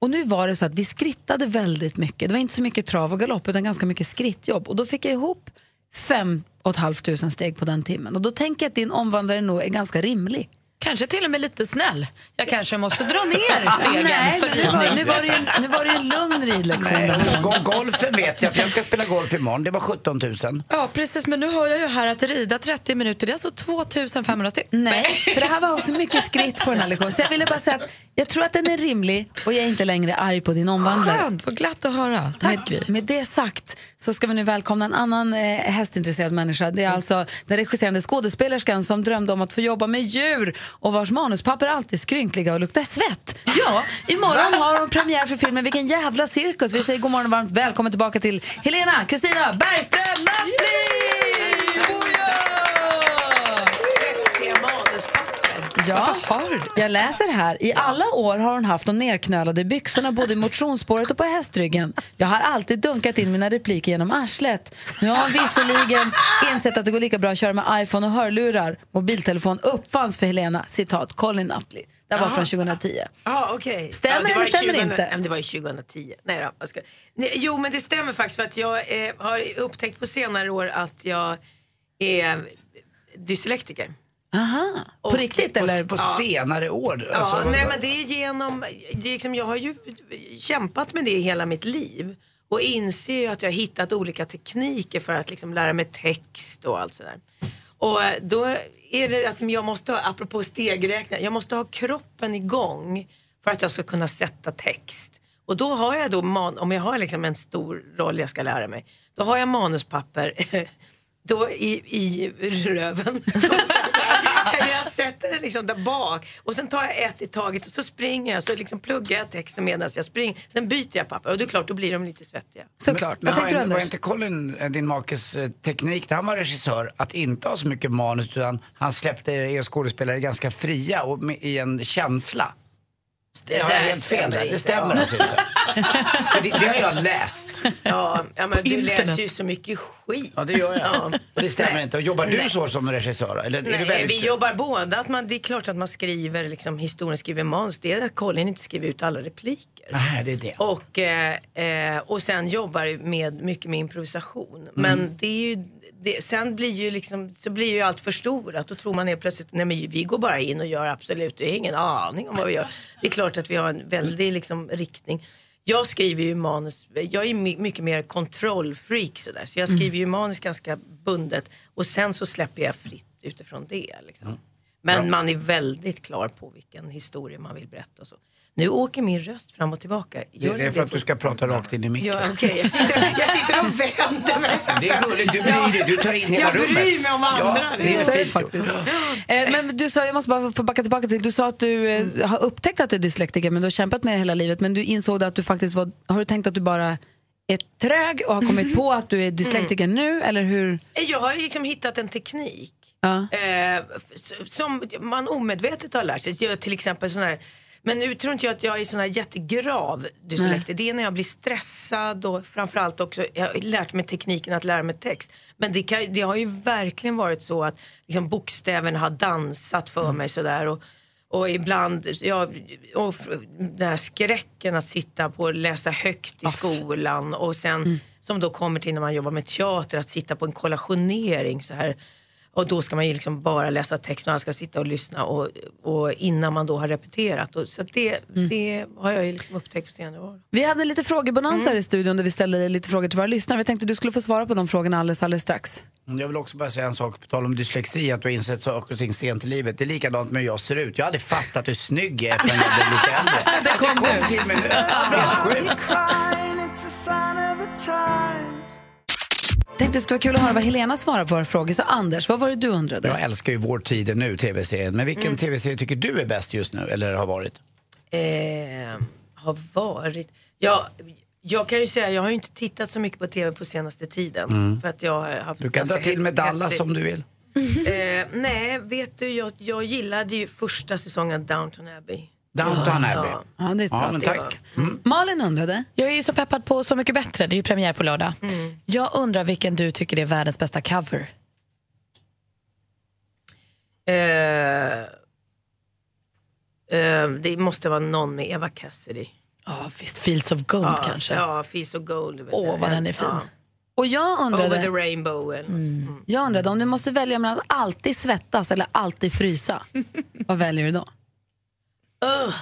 Speaker 1: Och nu var det så att vi skrittade väldigt mycket. Det var inte så mycket trav och galopp utan ganska mycket skrittjobb. Och då fick jag ihop 5 500 steg på den timmen. Och då tänker jag att din omvandlare nog är ganska rimlig.
Speaker 3: Kanske till och med lite snäll. Jag kanske måste dra ner stegen.
Speaker 1: Nej,
Speaker 3: för
Speaker 1: men nu var, nu, var det ju, en- nu var det ju en lugn ridlektion.
Speaker 2: Nej,
Speaker 1: där.
Speaker 2: go- Eh, golfen vet jag, för jag ska spela golf imorgon. Det var 17 000.
Speaker 3: Ja, precis. Men nu hör jag ju här att rida 30 minuter, det är alltså 2500 steg.
Speaker 1: Nej, för det här var också mycket skritt på den här lektionen. Så jag ville bara säga att Jag tror att den är rimlig och jag är inte längre arg på din omvandlare.
Speaker 3: Skönt, vad glatt att höra.
Speaker 1: Tack. Med, med det sagt så ska vi nu välkomna en annan eh, hästintresserad människa. Det är alltså den regisserande skådespelerskan som drömde om att få jobba med djur och vars manuspapper alltid är skrynkliga och luktar svett. Ja, imorgon har hon premiär för filmen Vilken jävla cirkus. Vi säger god morgon och varmt välkommen tillbaka till Helena Kristina Bergström Lattli!
Speaker 12: Svettiga manuspapper.
Speaker 1: Ja, jag läser här. I alla år har hon haft de nerknölade byxorna både i motionsspåret och på hästryggen. Jag har alltid dunkat in mina repliker genom arslet. Nu har hon visserligen insett att det går lika bra att köra med iPhone och hörlurar. Mobiltelefon uppfanns för Helena, citat Colin Nutley. Det här var
Speaker 12: Jaha.
Speaker 1: från 2010.
Speaker 12: Ja, okej.
Speaker 1: Stämmer
Speaker 12: ja, det var
Speaker 1: eller
Speaker 12: i
Speaker 1: stämmer
Speaker 12: 20
Speaker 1: inte?
Speaker 12: Ja, men Det var i 2010. Nej då, jag ska... Nej, jo, men det stämmer faktiskt för att jag eh, har upptäckt på senare år att jag är dyslektiker.
Speaker 1: Aha. På riktigt
Speaker 2: på,
Speaker 1: eller?
Speaker 2: På senare år?
Speaker 12: Ja,
Speaker 2: alltså,
Speaker 12: nej, men det är genom, det är liksom, jag har ju kämpat med det i hela mitt liv och inser ju att jag har hittat olika tekniker för att liksom lära mig text och allt sådär. Och då är det att jag måste, ha, apropå stegräkning, jag måste ha kroppen igång för att jag ska kunna sätta text. Och då har jag då, man, om jag har liksom en stor roll jag ska lära mig, då har jag manuspapper då i, i röven. Eller jag sätter den liksom där bak och sen tar jag ett i taget och så springer jag så liksom pluggar jag texten medan jag springer. Sen byter jag papper och det är klart då blir de lite svettiga.
Speaker 1: Såklart.
Speaker 2: Men, men var, var inte Colin, eh, din makes eh, teknik, när han var regissör, att inte ha så mycket manus utan han släppte er skådespelare ganska fria och med, i en känsla? Det har jag
Speaker 12: där
Speaker 2: helt fel
Speaker 12: stämmer
Speaker 2: där. Det
Speaker 12: inte,
Speaker 2: stämmer
Speaker 12: ja.
Speaker 2: alltså inte. För det, det har jag läst.
Speaker 12: Ja, ja men
Speaker 2: På
Speaker 12: du
Speaker 2: internet.
Speaker 12: läser ju så mycket skit.
Speaker 2: Ja, det gör jag. Och det stämmer
Speaker 12: Nej.
Speaker 2: inte. Och jobbar du
Speaker 12: Nej.
Speaker 2: så som regissör? Eller är du
Speaker 12: Nej,
Speaker 2: väldigt...
Speaker 12: vi jobbar båda. Att man, det är klart att man skriver liksom, historien, skriver manus. Det är att Colin inte skriver ut alla repliker.
Speaker 2: Nej, det är det.
Speaker 12: Och, eh, eh, och sen jobbar jag med mycket med improvisation.
Speaker 1: Mm.
Speaker 12: Men det är ju, det, sen blir ju, liksom, så blir ju allt förstorat. Då tror man helt plötsligt, nej men vi går bara in och gör absolut, vi har ingen aning om vad vi gör. Det är klart att vi har en väldig liksom, riktning. Jag skriver ju manus, jag är my- mycket mer kontrollfreak sådär. Så jag
Speaker 13: Mm.
Speaker 12: skriver ju manus ganska bundet och sen så släpper jag fritt utifrån det. Liksom.
Speaker 3: Mm.
Speaker 12: Men
Speaker 13: Bra.
Speaker 12: man är väldigt klar på vilken historia man vill berätta och så. Nu åker min röst fram och tillbaka.
Speaker 2: Det
Speaker 12: Gör
Speaker 2: är för att du
Speaker 12: det?
Speaker 2: ska prata rakt in i micken.
Speaker 12: Ja, okej. Jag, sitter, jag sitter och vänder mig. så här
Speaker 2: Det är
Speaker 12: fram.
Speaker 2: gulligt. Du bryr dig. Du tar in hela
Speaker 12: jag
Speaker 2: rummet.
Speaker 12: Jag bryr mig om
Speaker 2: Ja,
Speaker 12: andra.
Speaker 2: det är
Speaker 12: Så-
Speaker 2: fint
Speaker 1: faktiskt. Eh, men du sa, jag måste bara få backa tillbaka till, du sa att du eh,
Speaker 12: Mm.
Speaker 1: har upptäckt att du är dyslektiker men du har kämpat med det hela livet men du insåg att du faktiskt var, har du tänkt att du bara är trög och har kommit på att du är dyslektiker
Speaker 12: Mm.
Speaker 1: nu eller hur?
Speaker 12: Jag har liksom hittat en teknik.
Speaker 1: Ja.
Speaker 12: Eh, s- som man omedvetet har lärt sig. Jag, till exempel sån här, men nu tror inte jag att jag är sån här jättegrav dyslektiker. Det är när jag blir stressad och framförallt också, jag har lärt mig tekniken att lära mig text. Men det, kan, ju- det har ju verkligen varit så att liksom, bokstäverna har dansat för mig sådär. Och, och ibland, ja, och f- den här skräcken att sitta på och läsa högt i skolan och sen som då kommer till när man jobbar med teater, att sitta på en kollationering så här. Och då ska man ju liksom bara läsa texten och han ska sitta och lyssna och, och innan man då har repeterat. Och, så att det, det har jag ju liksom upptäckt på senare år.
Speaker 1: Vi hade lite frågebonanza
Speaker 12: Mm.
Speaker 1: här i studion där vi ställde lite frågor till våra lyssnare. Vi tänkte du skulle få svara på de frågorna alldeles, alldeles strax.
Speaker 2: Mm, Jag vill också bara säga en sak på tal om dyslexi, att du har insett saker och ting sent i livet. Det är likadant med hur jag ser ut. Jag hade fattat hur snygg jag är förrän jag blev lite äldre.
Speaker 14: Där
Speaker 2: Att det
Speaker 14: kom
Speaker 2: kom
Speaker 14: du.
Speaker 2: till mig nu. Helt sjukt.
Speaker 1: Tänkte det skulle vara kul att höra vad Helena svarar på våra frågor. Så Anders, vad var det du undrade?
Speaker 2: Jag älskar ju Vår tid är nu, tv-serien. Men vilken
Speaker 12: Mm.
Speaker 2: tv-serie tycker du är bäst just nu, eller har varit?
Speaker 12: Eh, har varit... Ja, jag kan ju säga, jag har ju inte tittat så mycket på tv på senaste tiden.
Speaker 2: Mm.
Speaker 12: För att jag har haft
Speaker 2: Du kan
Speaker 12: ganska
Speaker 2: dra till med Dallas
Speaker 12: hetsigt-
Speaker 2: om du vill.
Speaker 12: Eh, nej, vet du, jag, jag gillade ju första säsongen av Downton Abbey.
Speaker 2: Downton
Speaker 12: Ja.
Speaker 2: Abbey.
Speaker 1: Ja, det är ett bra
Speaker 2: men
Speaker 1: tips.
Speaker 2: tack.
Speaker 1: Malin undrade.
Speaker 3: Jag är ju så peppad på Så mycket bättre. Det är ju premiär på lördag. Jag undrar vilken du tycker är världens bästa cover.
Speaker 12: Eh, eh, det måste vara någon med Eva Cassidy.
Speaker 3: Ja, visst. Fields of Gold
Speaker 12: ja,
Speaker 3: kanske.
Speaker 12: Ja, Fields of Gold. vet
Speaker 3: Åh,
Speaker 12: jag.
Speaker 3: vad den är fin.
Speaker 1: Och jag
Speaker 12: Over the
Speaker 1: undrade,
Speaker 12: rainbow. Eller mm.
Speaker 1: jag undrade om du måste välja mellan att alltid svettas eller alltid frysa. vad väljer du då?
Speaker 12: Ugh.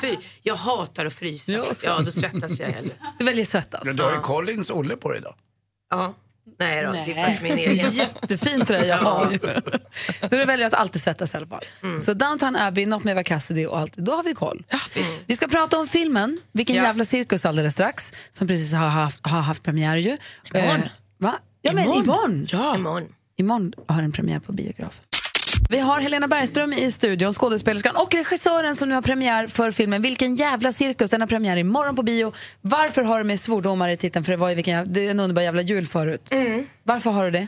Speaker 12: Fy, jag hatar att frysa.
Speaker 2: Jag också.
Speaker 12: Ja, då svettas jag heller.
Speaker 1: Du väljer svettas.
Speaker 2: Men du har ju Collins Olle på dig idag.
Speaker 12: Ja. Nej då, det är faktiskt min e- egen.
Speaker 1: Jättefin tröja har Så du väljer att alltid svettas i alla fall.
Speaker 12: Mm.
Speaker 1: Så Downtown Abbey, något med Eva Cassidy och allt, då har vi koll. Vi ska prata om filmen, Vilken jävla cirkus alldeles strax, som precis har haft, har haft premiär ju. Eh,
Speaker 12: Imorgon.
Speaker 1: va? Ja, men
Speaker 12: Imorgon.
Speaker 1: imorgon.
Speaker 12: Ja. Imorgon.
Speaker 1: Imorgon har den premiär på biograf. Vi har Helena Bergström i studion, skådespelerskan och regissören som nu har premiär för filmen Vilken jävla cirkus. Den har premiär imorgon på bio. Varför har du med svordomar i titeln? För det var ju vilken jävla, det är en underbar jävla jul förut.
Speaker 12: Mm.
Speaker 1: Varför har du det?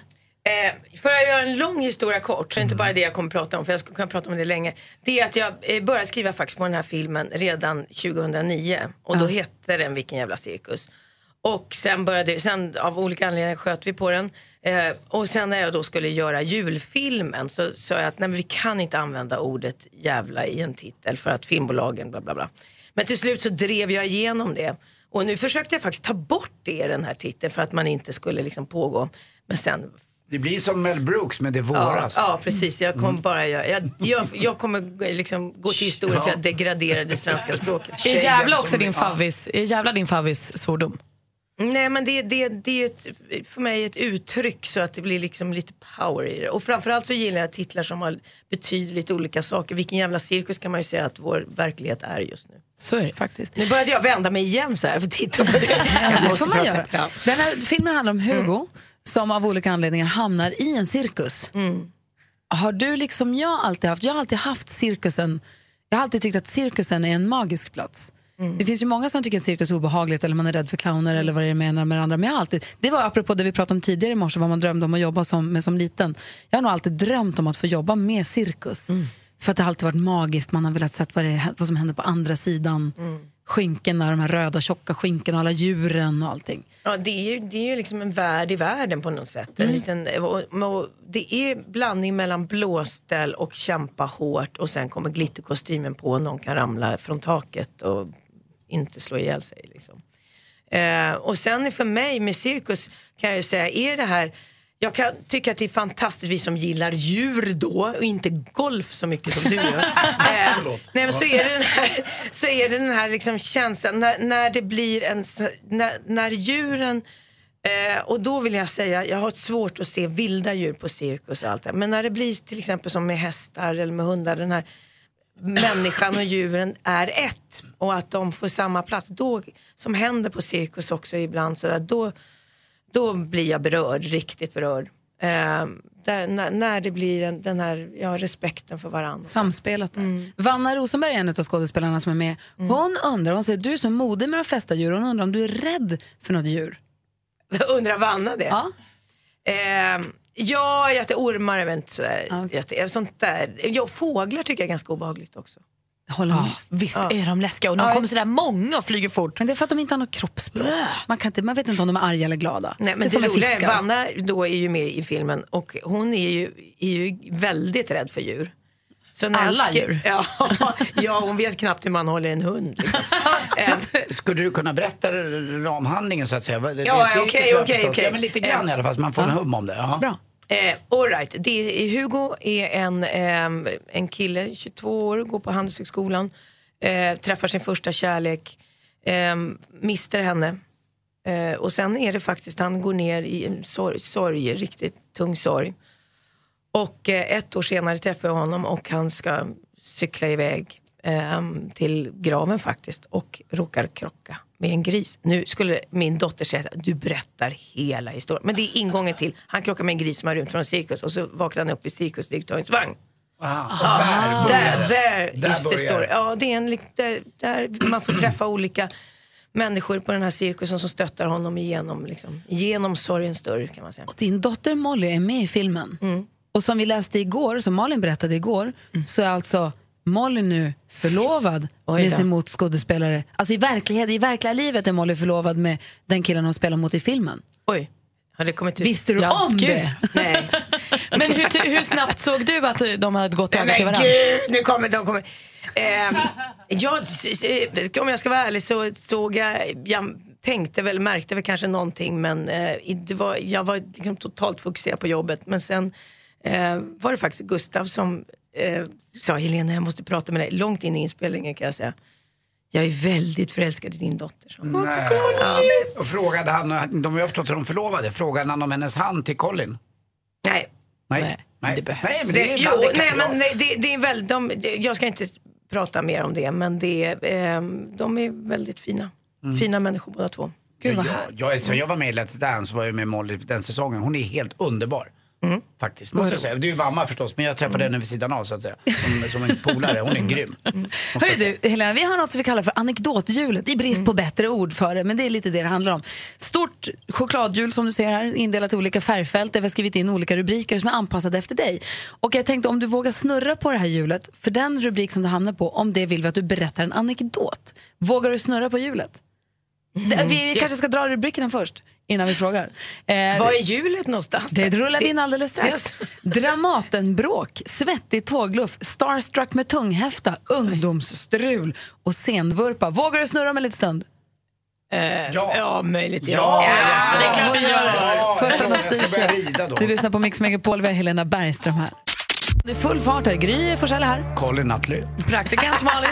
Speaker 12: Eh, för att göra en lång historia kort, så är det inte bara det jag kommer prata om, för jag skulle kunna prata om det länge. Det är att jag eh, började skriva faktiskt på den här filmen redan 2009 och då hette den Vilken jävla cirkus. Och sen började, sen av olika anledningar sköt vi på den. Eh, och sen när jag då skulle göra julfilmen så sa jag att nej men vi kan inte använda ordet jävla i en titel för att filmbolagen bla bla bla. Men till slut så drev jag igenom det. Och nu försökte jag faktiskt ta bort det i den här titeln för att man inte skulle liksom pågå. Men sen
Speaker 2: Det blir som Mel Brooks med Det våras.
Speaker 12: Ja, ja precis. Jag
Speaker 2: Mm.
Speaker 12: kommer bara göra, jag, jag, jag kommer g- liksom gå till historien för jag degraderade det svenska språket.
Speaker 3: Är
Speaker 12: Tjejen
Speaker 3: jävla
Speaker 12: som-
Speaker 3: också din favvis, är jävla din favvis svordom?
Speaker 12: Nej, men det, det, det är ju ett, för mig ett uttryck så att det blir liksom lite power i det. Och framförallt så gillar jag titlar som har, betyder lite olika saker. Vilken jävla cirkus kan man ju säga att vår verklighet är just nu.
Speaker 3: Så är det faktiskt.
Speaker 12: Nu började jag vända mig igen så här för att titta på det. Jag
Speaker 1: Det
Speaker 12: måste
Speaker 1: får man
Speaker 12: prata.
Speaker 1: göra.
Speaker 12: Ja.
Speaker 1: Den här filmen handlar om Hugo som av olika anledningar hamnar i en cirkus. Har du liksom jag alltid haft, jag har alltid haft cirkusen, jag har alltid tyckt att cirkusen är en magisk plats. Det finns ju många som tycker att cirkus är obehagligt eller man är rädd för clowner eller vad det är menar med det andra. Men jag har alltid, det var apropå det vi pratade om tidigare i morse, vad man drömde om att jobba som, med som liten. Jag har nog alltid drömt om att få jobba med cirkus. För att det har alltid varit magiskt, man har velat se vad, det, vad som händer på andra sidan.
Speaker 12: Mm.
Speaker 1: Skinkorna, de här röda tjocka skinkorna, alla djuren och allting.
Speaker 12: Ja, det är ju, det är ju liksom en värld i världen på något sätt.
Speaker 1: Mm.
Speaker 12: En liten, och, och, det är blandning mellan blåställ och kämpa hårt och sen kommer glitterkostymen på och någon kan ramla från taket och inte slå ihjäl sig. Liksom. Eh, och sen är för mig med cirkus kan jag ju säga, är det här jag kan tycka att det är fantastiskt, vi som gillar djur då och inte golf så mycket som du gör. Eh, nej, men så är det den här, så är det den här liksom känslan när, när det blir en... s- När, när djuren... Eh, och då vill jag säga, jag har svårt att se vilda djur på cirkus och allt det här. Men när det blir till exempel som med hästar eller med hundar, den här människan och djuren är ett och att de får samma plats. Då, som händer på cirkus också ibland, så där, då, då blir jag berörd, riktigt berörd. Eh, där, när, när det blir en, den här ja, respekten för varandra. Mm.
Speaker 1: Samspelat där. Vanna Rosenberg är en av skådespelarna som är med. Hon undrar, hon säger du är så modig med de flesta djur, hon undrar om du är rädd för något djur.
Speaker 12: Undrar Vanna det? Ja. Ehm, ja, jätteormar är väl inte sådär
Speaker 1: Ah,
Speaker 12: jätte, sånt där. Ja, fåglar tycker jag är ganska obehagligt också.
Speaker 1: Håller med.
Speaker 3: Ah, Visst
Speaker 12: Ja.
Speaker 3: är de läskiga och de
Speaker 12: Ja.
Speaker 3: kommer sådär många och flyger fort.
Speaker 1: Men det är för att de inte har något kroppsspråk. Man, kan inte, man vet inte om de är arga eller glada.
Speaker 12: Nej, men
Speaker 1: är
Speaker 12: det,
Speaker 1: som med
Speaker 12: roliga är
Speaker 1: fiskar.
Speaker 12: Vanna då är ju med i filmen och hon är ju, är ju väldigt rädd för djur. Så när jag
Speaker 3: Alla
Speaker 12: skri-
Speaker 3: djur?
Speaker 12: Ja, ja, hon vet knappt hur man håller en hund. Liksom.
Speaker 2: Skulle du kunna berätta ramhandlingen så att säga? Vad- det-
Speaker 12: Ja,
Speaker 2: det är cirkus,
Speaker 12: okej,
Speaker 2: jag
Speaker 12: okej,
Speaker 2: förstår.
Speaker 12: okej.
Speaker 2: Ja, men lite grann i alla fall så man får en
Speaker 12: Ja.
Speaker 2: hum om det. Ja.
Speaker 1: Bra.
Speaker 12: Eh, all right. det är, Hugo är en, ehm, en kille, 22 år, går på Handelshögskolan, eh, träffar sin första kärlek, eh, mister henne. Eh, och sen är det faktiskt, han går ner i en sorg, sorg riktigt tung sorg. Och eh, ett år senare träffar jag honom och han ska cykla iväg ehm, till graven faktiskt och råkar krocka med en gris. Nu skulle min dotter säga att du berättar hela historien. Men det är ingången till, han krockar med en gris som har rymt från en cirkus och så vaknar han upp i cirkusdirektörens vagn.
Speaker 2: Ah.
Speaker 12: Där, där,
Speaker 2: Där
Speaker 12: is the
Speaker 2: börjar
Speaker 12: story.
Speaker 2: det.
Speaker 12: Ja, det är en, lik- där, där man får träffa olika människor på den här cirkusen som stöttar honom igenom, liksom, genom sorgens dörr kan man säga.
Speaker 1: Och din dotter Molly är med i filmen.
Speaker 12: Mm.
Speaker 1: Och som vi läste igår, som Malin berättade igår, så är alltså Molly nu förlovad
Speaker 12: Oj
Speaker 1: med
Speaker 12: då.
Speaker 1: sin motskådespelare. Alltså i verkligheten, i verkliga livet är Molly förlovad med den killen hon spelar mot i filmen.
Speaker 12: Oj, har det kommit ut?
Speaker 1: Visste du om det?
Speaker 12: Nej.
Speaker 3: Men hur, hur snabbt såg du att de hade gått över till
Speaker 12: Men
Speaker 3: varandra?
Speaker 12: gud, nu kommer de kommer. Ehm, jag, eh, om jag ska vara ärlig så såg jag, jag tänkte väl, märkte väl kanske någonting men eh, det var, jag var liksom totalt fokuserad på jobbet. Men sen eh, var det faktiskt Gustav som eh, sa Helena jag måste prata med dig, långt in i inspelningen kan jag säga. jag är väldigt förälskad i din dotter. Så.
Speaker 2: Nej. Och frågade han, de har ju förstått att de förlovade, frågade han om hennes hand till Colin?
Speaker 12: Nej.
Speaker 2: Nej. Nej. Nej. Det
Speaker 12: Nej,
Speaker 2: men det är
Speaker 12: jo,
Speaker 2: ibland det kan
Speaker 12: nej,
Speaker 2: vara.
Speaker 12: men nej, det, det är väldigt, de, det- jag ska inte prata mer om det, men det, är, eh, de är väldigt fina.
Speaker 2: Mm.
Speaker 12: Fina människor båda två.
Speaker 2: jag, jag, sen jag var med i Let's Dance var jag med Molly den säsongen. Hon är helt underbar. Faktiskt, måste jag säga. Du är ju mamma förstås, men jag träffade henne vid sidan av så att säga. Som, som en polare, hon är grym.
Speaker 1: Hörru du, Helena, vi har något som vi kallar för anekdothjulet i brist
Speaker 12: Mm.
Speaker 1: på bättre ord för det, men det är lite det det handlar om. Stort chokladhjul som du ser här, indelat i olika färgfält där vi har skrivit in olika rubriker som är anpassade efter dig. Och jag tänkte om du vågar snurra på det här hjulet, för den rubrik som du hamnar på, om det vill vi att du berättar en anekdot. Vågar du snurra på hjulet? Det- Vi
Speaker 12: Mm.
Speaker 1: kanske ska dra rubrikerna först, innan vi frågar. Eh,
Speaker 12: Var är hjulet någonstans?
Speaker 1: det rullar vi in alldeles
Speaker 12: Yes.
Speaker 1: strax. Dramatenbråk, svettig tågluff, starstruck med tunghäfta, ungdomsstrul och senvurpa. Vågar du snurra om en liten stund?
Speaker 12: ja. ja, möjligt.
Speaker 1: Ja,
Speaker 12: det är klart vi gör.
Speaker 1: Första
Speaker 2: Jag ska börja
Speaker 1: Anastasia.
Speaker 2: rida då.
Speaker 1: Du lyssnar på Mix Megapol, vi har Helena Bergström här. Det är full fart här. Gry Forssell är här.
Speaker 2: Colin Nutley.
Speaker 1: Praktikant Malin.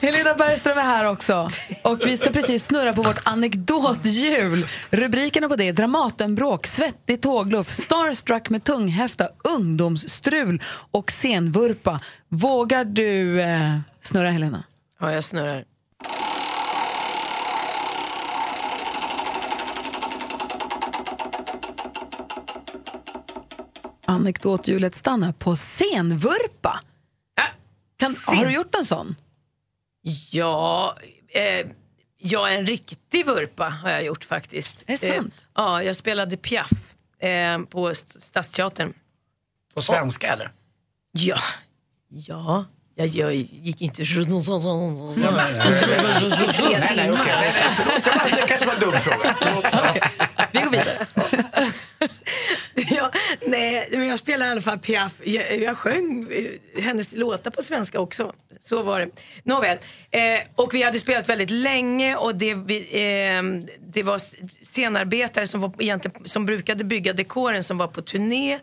Speaker 1: Helena Bergström är här också. Och vi ska precis snurra på vårt anekdothjul. Rubrikerna på det är Dramatenbråk, Svettig tågluff, Starstruck med tunghäfta, Ungdomsstrul och Senvurpa. Vågar du eh, snurra, Helena?
Speaker 12: Ja, jag snurrar.
Speaker 1: Anekdothjulet stannar på Senvurpa. Kan,
Speaker 12: Äh, sen-
Speaker 1: har du gjort en sån?
Speaker 12: Ja, eh, ja, en riktig vurpa har jag gjort faktiskt.
Speaker 1: Är det sant?
Speaker 12: Eh, ja, jag spelade Piaf eh, på St- Stadsteatern.
Speaker 2: På svenska eller?
Speaker 12: Ja, ja. Jag, jag gick inte...
Speaker 2: Ja, nej, nej. Nej, nej, okej, nej, nej, förlåt. Det var- Det kanske var en dum fråga.
Speaker 12: ja, nej, men jag spelade i alla fall Piaf. Jag, jag sjöng eh, hennes låtar på svenska också. Så var det. Nåväl. Eh, och vi hade spelat väldigt länge och det, vi, eh, det var s- scenarbetare som, var, egentligen, som brukade bygga dekoren som var på turné.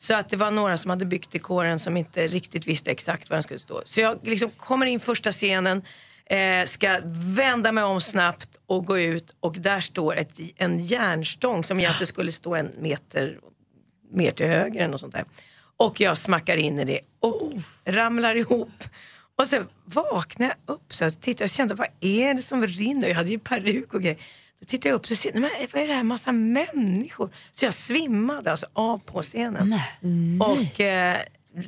Speaker 12: Så att det var några som hade byggt dekoren som inte riktigt visste exakt var den skulle stå. Så jag liksom kommer in första scenen, eh, ska vända mig om snabbt och gå ut och där står ett, en järnstång som egentligen skulle stå en meter mer till höger eller något sånt där. Och jag smackar in i det och ramlar ihop. Och sen vaknade jag upp så Alltså, jag tittade och kände vad är det som rinner? Jag hade ju peruk och grejer. Då tittade jag upp och ser nej, men vad är det här massa människor? Så jag svimmade alltså av på scenen. Och eh,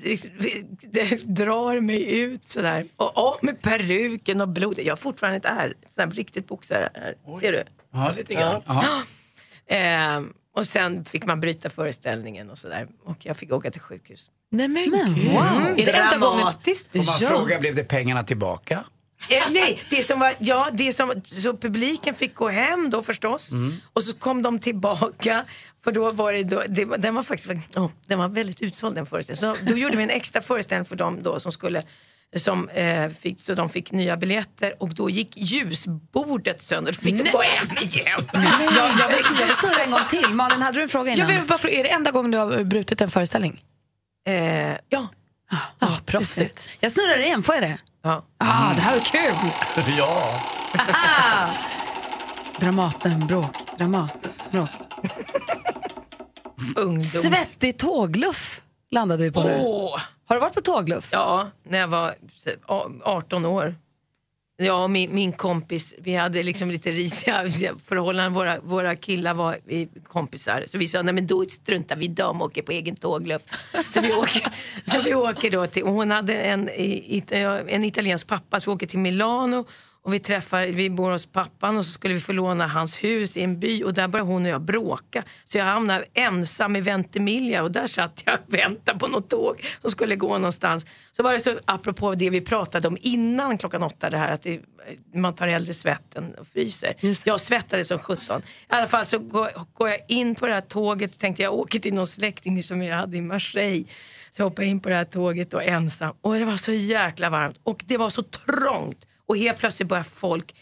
Speaker 12: liksom, det drar mig ut sådär. Och av med peruken och blodet. Jag har fortfarande ett ärr. Ett sånt här riktigt boxare här. Ser du?
Speaker 2: Ja, lite grann.
Speaker 12: Ja.
Speaker 2: Ja.
Speaker 12: Ehm, och sen fick man bryta föreställningen och sådär. Och jag fick åka till sjukhus.
Speaker 3: Nej men,
Speaker 1: Mm.
Speaker 12: gud. Är det enda gången-
Speaker 2: Om man
Speaker 12: Ja.
Speaker 2: frågar, blev det pengarna tillbaka?
Speaker 12: Eh, nej, det som var, ja, det som, så publiken fick gå hem då förstås.
Speaker 2: Mm.
Speaker 12: Och så kom de tillbaka. För då var det, då, det var- den var faktiskt oh, den var väldigt utsåld den föreställningen. Så då gjorde vi en extra föreställning för dem då som skulle som, eh, fick, så de fick nya biljetter och då gick ljusbordet sönder. Då fick de gå hem igen.
Speaker 1: Jag, jag, vill, jag vill snurra en gång till. Malin, hade du en fråga
Speaker 3: Jag
Speaker 1: innan?
Speaker 3: vill bara fråga, är det enda gången du har brutit en föreställning?
Speaker 12: Eh, ja.
Speaker 3: Ah, proffsigt.
Speaker 1: Jag snurrar igen, får jag det?
Speaker 12: Ja.
Speaker 1: Ah, det här var kul!
Speaker 2: Ja.
Speaker 1: Aha! Dramaten, bråk, Dramaten, bråk.
Speaker 12: Ungdoms...
Speaker 1: Svettig tågluff landade vi på nu.
Speaker 12: Åh.
Speaker 1: Har du varit på tågluff?
Speaker 12: Ja, när jag var a- 18 år. Jag och min, min kompis, vi hade liksom lite risiga förhållanden. Våra, våra killar var i- kompisar. Så vi sa, nej men då struntar vi i dem och åker på egen tågluff. Så vi åker, så vi åker då till, och hon hade en, i- it, eh, en italiensk pappa, så vi åker till Milano. Och vi, träffar, vi bor hos pappan och så skulle vi få låna hans hus i en by och där började hon och jag bråka. Så jag hamnade ensam i Ventimiglia och där satt jag och väntade på något tåg som skulle gå någonstans. Så var det så, apropå det vi pratade om innan klockan åtta, det här att det, man tar hellre svett än och fryser. Jag svettades som sjutton. I alla fall så går, går jag in på det här tåget och tänkte jag åker till någon släkting som jag hade i Marseille. Så jag hoppade in på det här tåget och ensam. Och det var så jäkla varmt och det var så trångt. Och helt plötsligt började folk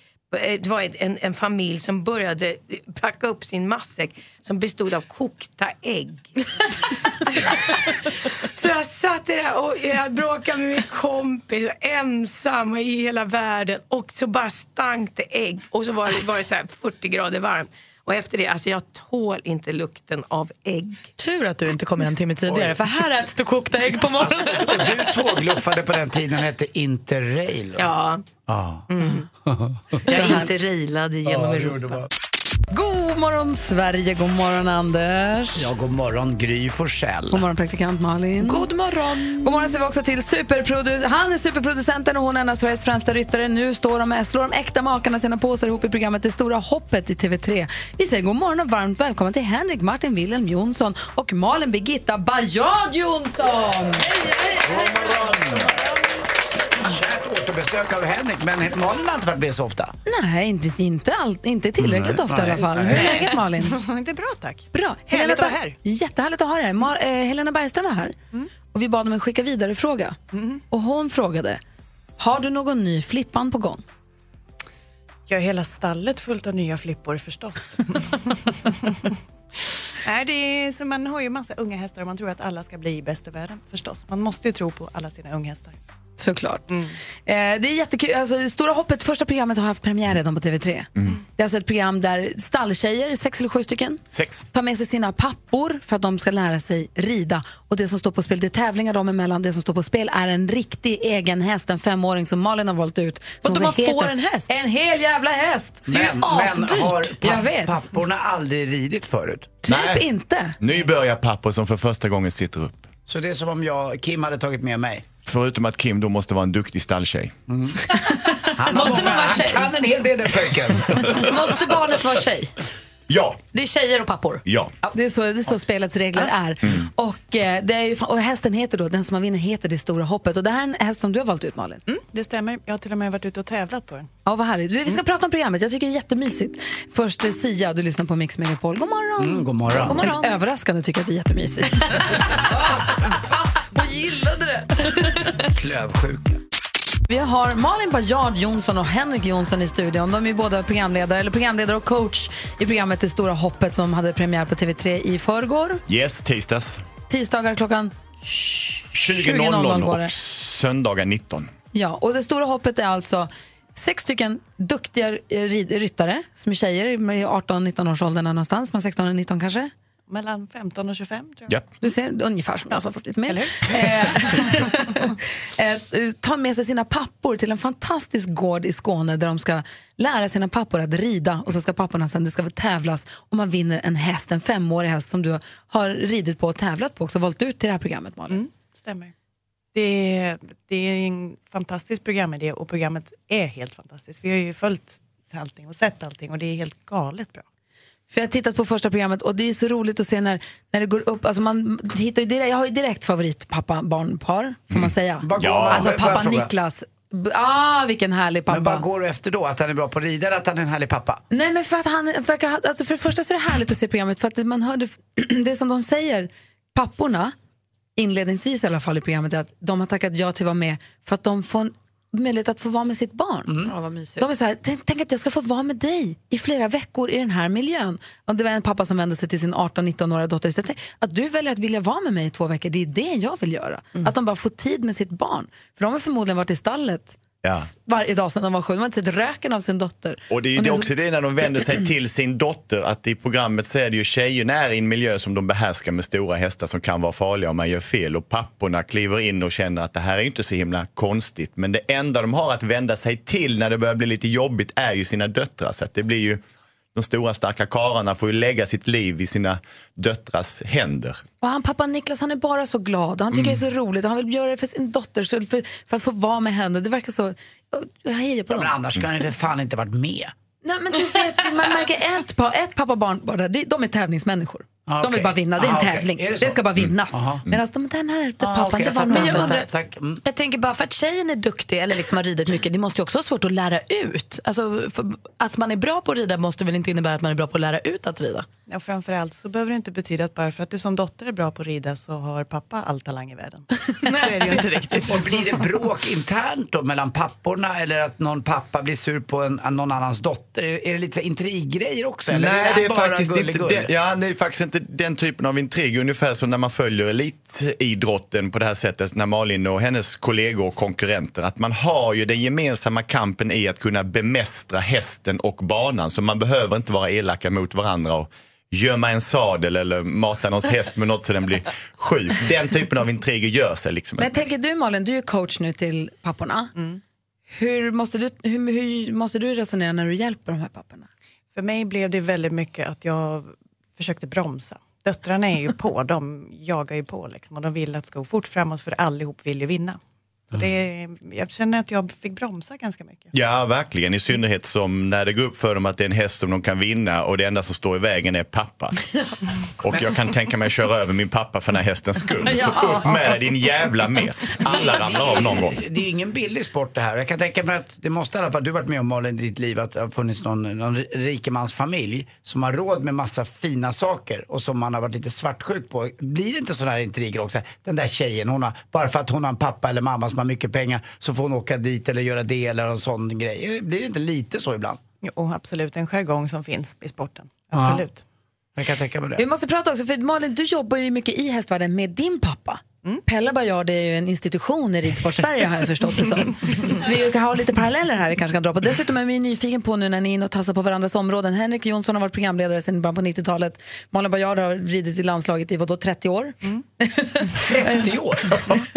Speaker 12: eh, det var ett- en, en familj som började packa upp sin matsäck som bestod av kokta ägg. så, så jag jag satt där och jag bråkade med min kompis, jag var ensam i hela världen och så bara stank det ägg och så var det, var det så här 40 grader varmt. Och efter det, alltså jag tål inte lukten av ägg.
Speaker 3: Tur att du inte kom en timme tidigare, för här äts det kokta ägg på morgonen.
Speaker 2: Du tågluffade på den tiden hette Interrail. va?
Speaker 12: Ja.
Speaker 2: Ja.
Speaker 12: Mm. Jag inte railade genom Europa.
Speaker 1: God morgon Sverige, god morgon Anders.
Speaker 2: Ja, god morgon Gry Forssell.
Speaker 1: God morgon praktikant Malin.
Speaker 3: God morgon.
Speaker 1: God morgon säger vi också till superproduc- Han är superproducenten och hon är en av Sveriges främsta ryttare. Nu står de, slår de äkta makarna sina påsar ihop i programmet Det stora hoppet i TV3. Vi säger god morgon och varmt välkommen till Henrik Martin Wilhelm Jonsson och Malin Birgitta Bajad Jonsson.
Speaker 2: Kärt återbesök av Henrik, men Malin har inte varit med så ofta.
Speaker 1: Nej, inte, inte, all, inte tillräckligt
Speaker 2: Nej,
Speaker 1: ofta i
Speaker 2: nej,
Speaker 1: alla fall.
Speaker 2: nej.
Speaker 1: Hur är läget Malin?
Speaker 13: det är bra tack.
Speaker 1: Bra.
Speaker 13: Härligt att
Speaker 1: Ber-
Speaker 13: vara här. Mm.
Speaker 1: Jättehärligt att ha dig här. Mar- eh, Helena Bergström var här och vi bad om en skicka vidare-fråga. Och hon frågade, har du någon ny flippan på gång?
Speaker 13: Jag har hela stallet fullt av nya flippor förstås. Nej, det är, så man har ju massa unga hästar och man tror att alla ska bli bäst i världen förstås. Man måste ju tro på alla sina unghästar.
Speaker 1: Såklart.
Speaker 13: Mm.
Speaker 1: Eh, det är jättekul. Alltså, det Stora hoppet, första programmet har haft premiär redan på TV3. Det är alltså ett program där stalltjejer, sex eller sju stycken,
Speaker 15: Sex.
Speaker 1: tar med sig sina pappor för att de ska lära sig rida. Och det som står på spel, det är tävlingar dem emellan. Det som står på spel är en riktig egen häst, en femåring som Malin har valt ut. Som
Speaker 3: Och
Speaker 1: hon
Speaker 3: man
Speaker 1: heter-
Speaker 3: får en häst?
Speaker 1: En hel jävla häst!
Speaker 3: Det är ju
Speaker 2: Men, men har
Speaker 3: asdyrt.
Speaker 2: pa-
Speaker 1: Jag vet.
Speaker 2: papporna aldrig ridit förut?
Speaker 1: Typ inte.
Speaker 15: Nybörjarpappor som för första gången sitter upp.
Speaker 2: Så det är som om jag, Kim hade tagit med mig.
Speaker 15: Förutom att Kim då måste vara en duktig stalltjej.
Speaker 2: Han, har
Speaker 3: Måste man vara tjej?
Speaker 2: han kan en hel del den pojken.
Speaker 3: Måste barnet vara tjej?
Speaker 15: Ja,
Speaker 3: Det är tjejer och pappor.
Speaker 15: ja.
Speaker 1: Det är så, det är så spelets regler är.
Speaker 2: Mm.
Speaker 1: Och, eh, det är ju, och hästen heter då, den som man vinner heter Det stora hoppet. Och det här är en häst som du har valt ut Malin.
Speaker 13: Det stämmer, jag har till och med varit ute och tävlat på den.
Speaker 1: Ja, vad härligt. Vi vi ska prata om programmet. Jag tycker det är jättemysigt. Först eh, Sia, du lyssnar på Mix Megapol. God morgon!
Speaker 2: Mm, god morgon.
Speaker 1: God morgon. Helt överraskande tycker jag att det är jättemysigt. Jag gillade det.
Speaker 2: Klövsjuka.
Speaker 1: Vi har Malin Bajard Jonsson och Henrik Jonsson i studion. De är ju båda programledare, eller programledare och coach i programmet Det stora hoppet som hade premiär på TV3 i förrgår.
Speaker 15: Yes, tisdags.
Speaker 1: Tisdagar klockan
Speaker 15: 20.00
Speaker 1: går det.
Speaker 15: och söndagar 19.
Speaker 1: Ja, och det stora hoppet är alltså sex stycken duktiga eh, rid- ryttare som är tjejer i 18-19 års åldern någonstans, man 16 och 19 kanske.
Speaker 13: Mellan 15 och 25 tror
Speaker 15: jag.
Speaker 1: Du ser, ungefär som jag sa, fast lite mer. Eh, eh, tar med sig sina pappor till en fantastisk gård i Skåne där de ska lära sina pappor att rida och så ska papporna sen, det ska tävlas och man vinner en häst, en femårig häst som du har ridit på och tävlat på också, valt ut till det här programmet Malin.
Speaker 13: Mm, Stämmer. Det är, det är en fantastisk programidé och programmet är helt fantastiskt. Vi har ju följt allting och sett allting och det är helt galet bra.
Speaker 1: För jag har tittat på första programmet och det är så roligt att se när, när det går upp. Alltså man hittar ju direkt, jag har ju direkt favorit pappa barnpar, får
Speaker 3: Mm.
Speaker 1: man säga.
Speaker 2: Vad går- Ja.
Speaker 1: Alltså
Speaker 2: vad- vad
Speaker 1: pappa
Speaker 2: frågar?
Speaker 1: Niklas. B- Ah, vilken härlig pappa.
Speaker 2: Men vad går du efter då? Att han är bra på att rida eller att han är en härlig pappa?
Speaker 1: Nej, men för att han verkar, ha- alltså för det första så är det härligt att se programmet för att man hörde, det som de säger, papporna, inledningsvis i alla fall i programmet, är att de har tackat ja till att vara med för att de får en möjlighet att få vara med sitt barn.
Speaker 3: Ja, vad
Speaker 13: typ.
Speaker 3: mysigt.
Speaker 1: De är så här, tänk, tänk att jag ska få vara med dig i flera veckor i den här miljön. Och det var en pappa som vände sig till sin 18-19-åriga dotter och sa, "Tänk att du väljer att vilja vara med mig i två veckor, det är det jag vill göra. Att de bara får tid med sitt barn. För de har förmodligen varit i stallet
Speaker 15: Ja.
Speaker 1: varje dag sedan de var sju. De har inte sett röken av sin dotter.
Speaker 15: Och det är ju
Speaker 1: Och
Speaker 15: det
Speaker 1: det är
Speaker 15: också
Speaker 1: så-
Speaker 15: det när de vänder sig till sin dotter att i programmet så är det ju tjejerna är i en miljö som de behärskar med stora hästar som kan vara farliga om man gör fel och papporna kliver in och känner att det här är ju inte så himla konstigt men det enda de har att vända sig till när det börjar bli lite jobbigt är ju sina döttrar så att det blir ju de stora starka karlarna får ju lägga sitt liv i sina döttrars händer.
Speaker 1: Och han, pappa Niklas han är bara så glad och han tycker
Speaker 15: Mm.
Speaker 1: det är så roligt och han vill göra det för sin dotter skull, för, för att få vara med henne. Det verkar så... Jag hejar på
Speaker 2: Ja, men
Speaker 1: dem.
Speaker 2: annars kan han för fan inte varit med.
Speaker 1: Nej, men du vet, man märker ett, par, ett pappa och barn, bara, det- de är tävlingsmänniskor.
Speaker 2: Ah,
Speaker 1: De vill
Speaker 2: okej.
Speaker 1: bara vinna, det är en
Speaker 2: Ah, okej.
Speaker 1: tävling.
Speaker 2: Är det
Speaker 1: det,
Speaker 2: så?
Speaker 1: ska bara vinnas.
Speaker 2: Mm. Aha.
Speaker 1: Medan de, den här pappan,
Speaker 2: Ah, okej,
Speaker 1: det var
Speaker 2: jag fattar.
Speaker 3: Men jag
Speaker 2: Vänta,
Speaker 3: undrar,
Speaker 2: tack. Mm.
Speaker 3: jag tänker bara för att tjejen är duktig eller liksom har ridit mycket, det måste ju också vara svårt att lära ut. Alltså, för, att man är bra på att rida måste väl inte innebära att man är bra på att lära ut att rida?
Speaker 13: Ja, framförallt så behöver det inte betyda att bara för att du som dotter är bra på att rida så har pappa all talang i världen. Så är det ju inte riktigt.
Speaker 2: Och blir det bråk internt då mellan papporna eller att någon pappa blir sur på en, någon annans dotter? Är är det lite så här intriggrejer också? Eller
Speaker 15: Nej, det är
Speaker 2: bara
Speaker 15: faktiskt inte
Speaker 2: gulligull?
Speaker 15: det. Ja, det är faktiskt inte lite den typen av intrig, ungefär som när man följer elitidrotten på det här sättet, när Malin och hennes kollegor och konkurrenter, att man har ju den gemensamma kampen i att kunna bemästra hästen och banan, så man behöver inte vara elaka mot varandra och gömma en sadel eller mata någons häst med något så den blir sjuk. Den typen av intriger gör sig liksom
Speaker 1: Men tänker du Malin, du är coach nu till papporna.
Speaker 13: Mm.
Speaker 1: Hur, måste du, hur, hur måste du resonera när du hjälper de här papporna?
Speaker 13: För mig blev det väldigt mycket att jag försökte bromsa. Döttrarna är ju på, de jagar ju på liksom, och de vill att det ska gå fort framåt för allihop vill ju vinna. Så det, jag känner att jag fick bromsa ganska mycket.
Speaker 15: Ja, verkligen. I synnerhet som när det går upp för dem att det är en häst som de kan vinna och det enda som står i vägen är pappa. Och jag kan tänka mig att köra över min pappa för den här hästens skull. Så
Speaker 2: Ja.
Speaker 15: upp med din jävla mess. Alla ramlar av någon gång.
Speaker 2: Det är ju ingen billig sport det här. Jag kan tänka mig att det måste i alla fall, du har varit med om Malin i ditt liv, att det har funnits någon, någon rikemansfamilj som har råd med massa fina saker och som man har varit lite svartsjuk på. Blir det inte sådana här intriger också? Den där tjejen, hon har, bara för att hon har en pappa eller mamma som har mycket pengar så får hon åka dit eller göra det eller en sån grej. Blir det inte lite så ibland?
Speaker 13: Jo, absolut, en jargong som finns i sporten.
Speaker 2: Ja.
Speaker 13: Absolut.
Speaker 2: Jag kan tänka mig det.
Speaker 1: Vi måste prata också, för Malin du jobbar ju mycket i hästvärlden med din pappa. Pelle Bajard är ju en institution i Ridsport-Sverige har jag förstått det som. Så vi kan ha lite paralleller här vi kanske kan dra på. Dessutom är vi ju nyfiken på nu när ni är inne och tassar på varandras områden. Henrik Jonsson har varit programledare sedan början på 90-talet. Malin Bajard har ridit i landslaget i vadå, 30 år?
Speaker 13: Mm.
Speaker 2: 30 år?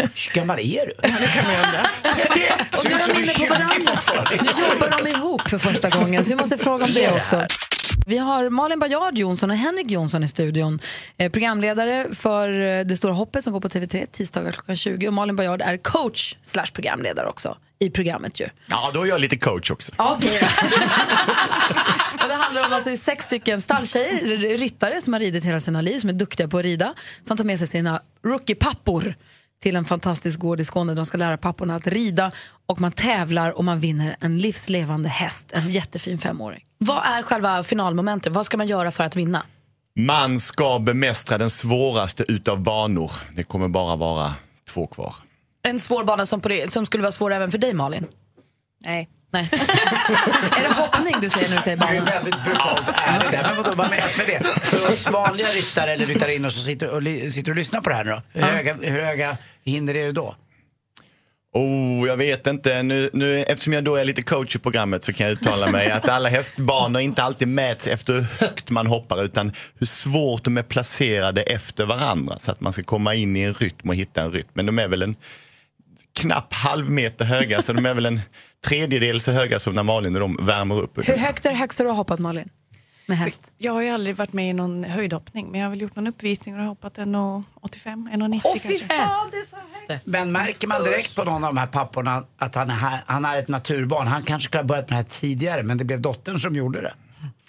Speaker 2: Hur gammal är du?
Speaker 1: Och nu är de inne på varandra. Nu jobbar de ihop för första gången, så vi måste fråga om det också. Vi har Malin Bajard Jonsson och Henrik Jonsson i studion. Eh, programledare för eh, Det stora hoppet som går på TV3 tisdagar klockan 20. Och Malin Bajard är coach slash programledare också i programmet ju.
Speaker 15: Ja, då är jag lite coach också.
Speaker 1: Okej då. Och Det handlar om alltså sex stycken stalltjejer, r- ryttare som har ridit hela sina liv, som är duktiga på att rida, som tar med sig sina rookie-pappor till en fantastisk gård i Skåne. De ska lära papporna att rida och man tävlar och man vinner en livslevande häst, en jättefin femåring.
Speaker 3: Vad är själva finalmomentet? Vad ska man göra för att vinna?
Speaker 15: Man ska bemästra den svåraste utav banor. Det kommer bara vara två kvar.
Speaker 3: En svår bana som, på det, som skulle vara svår även för dig Malin?
Speaker 13: Nej.
Speaker 3: Nej.
Speaker 1: är det hoppning du säger när du säger
Speaker 2: Det är ju väldigt brutalt ärligt där. Men vadå, vad menas med det? För oss vanliga ryttare eller ryttarinnor som sitter och, li- sitter och lyssnar på det här nu då. Hur, höga, hur höga hinder är det då?
Speaker 15: Oh, jag vet inte. Nu, nu, eftersom jag då är lite coach i programmet så kan jag uttala mig att alla hästbanor inte alltid mäts efter hur högt man hoppar utan hur svårt de är placerade efter varandra så att man ska komma in i en rytm och hitta en rytm. Men de är väl en knapp halv meter höga så de är väl en tredjedel så höga som när Malin och de värmer upp.
Speaker 1: Hur högt är det högsta du har hoppat Malin? Med häst?
Speaker 13: Jag har ju aldrig varit med i någon höjdhoppning, men jag har väl gjort någon uppvisning och har hoppat 1,85, 1,90 kanske.
Speaker 2: Men märker man direkt på någon av de här papporna att han är, här- han är ett naturbarn? Han kanske skulle ha börjat med det här tidigare men det blev dottern som gjorde det.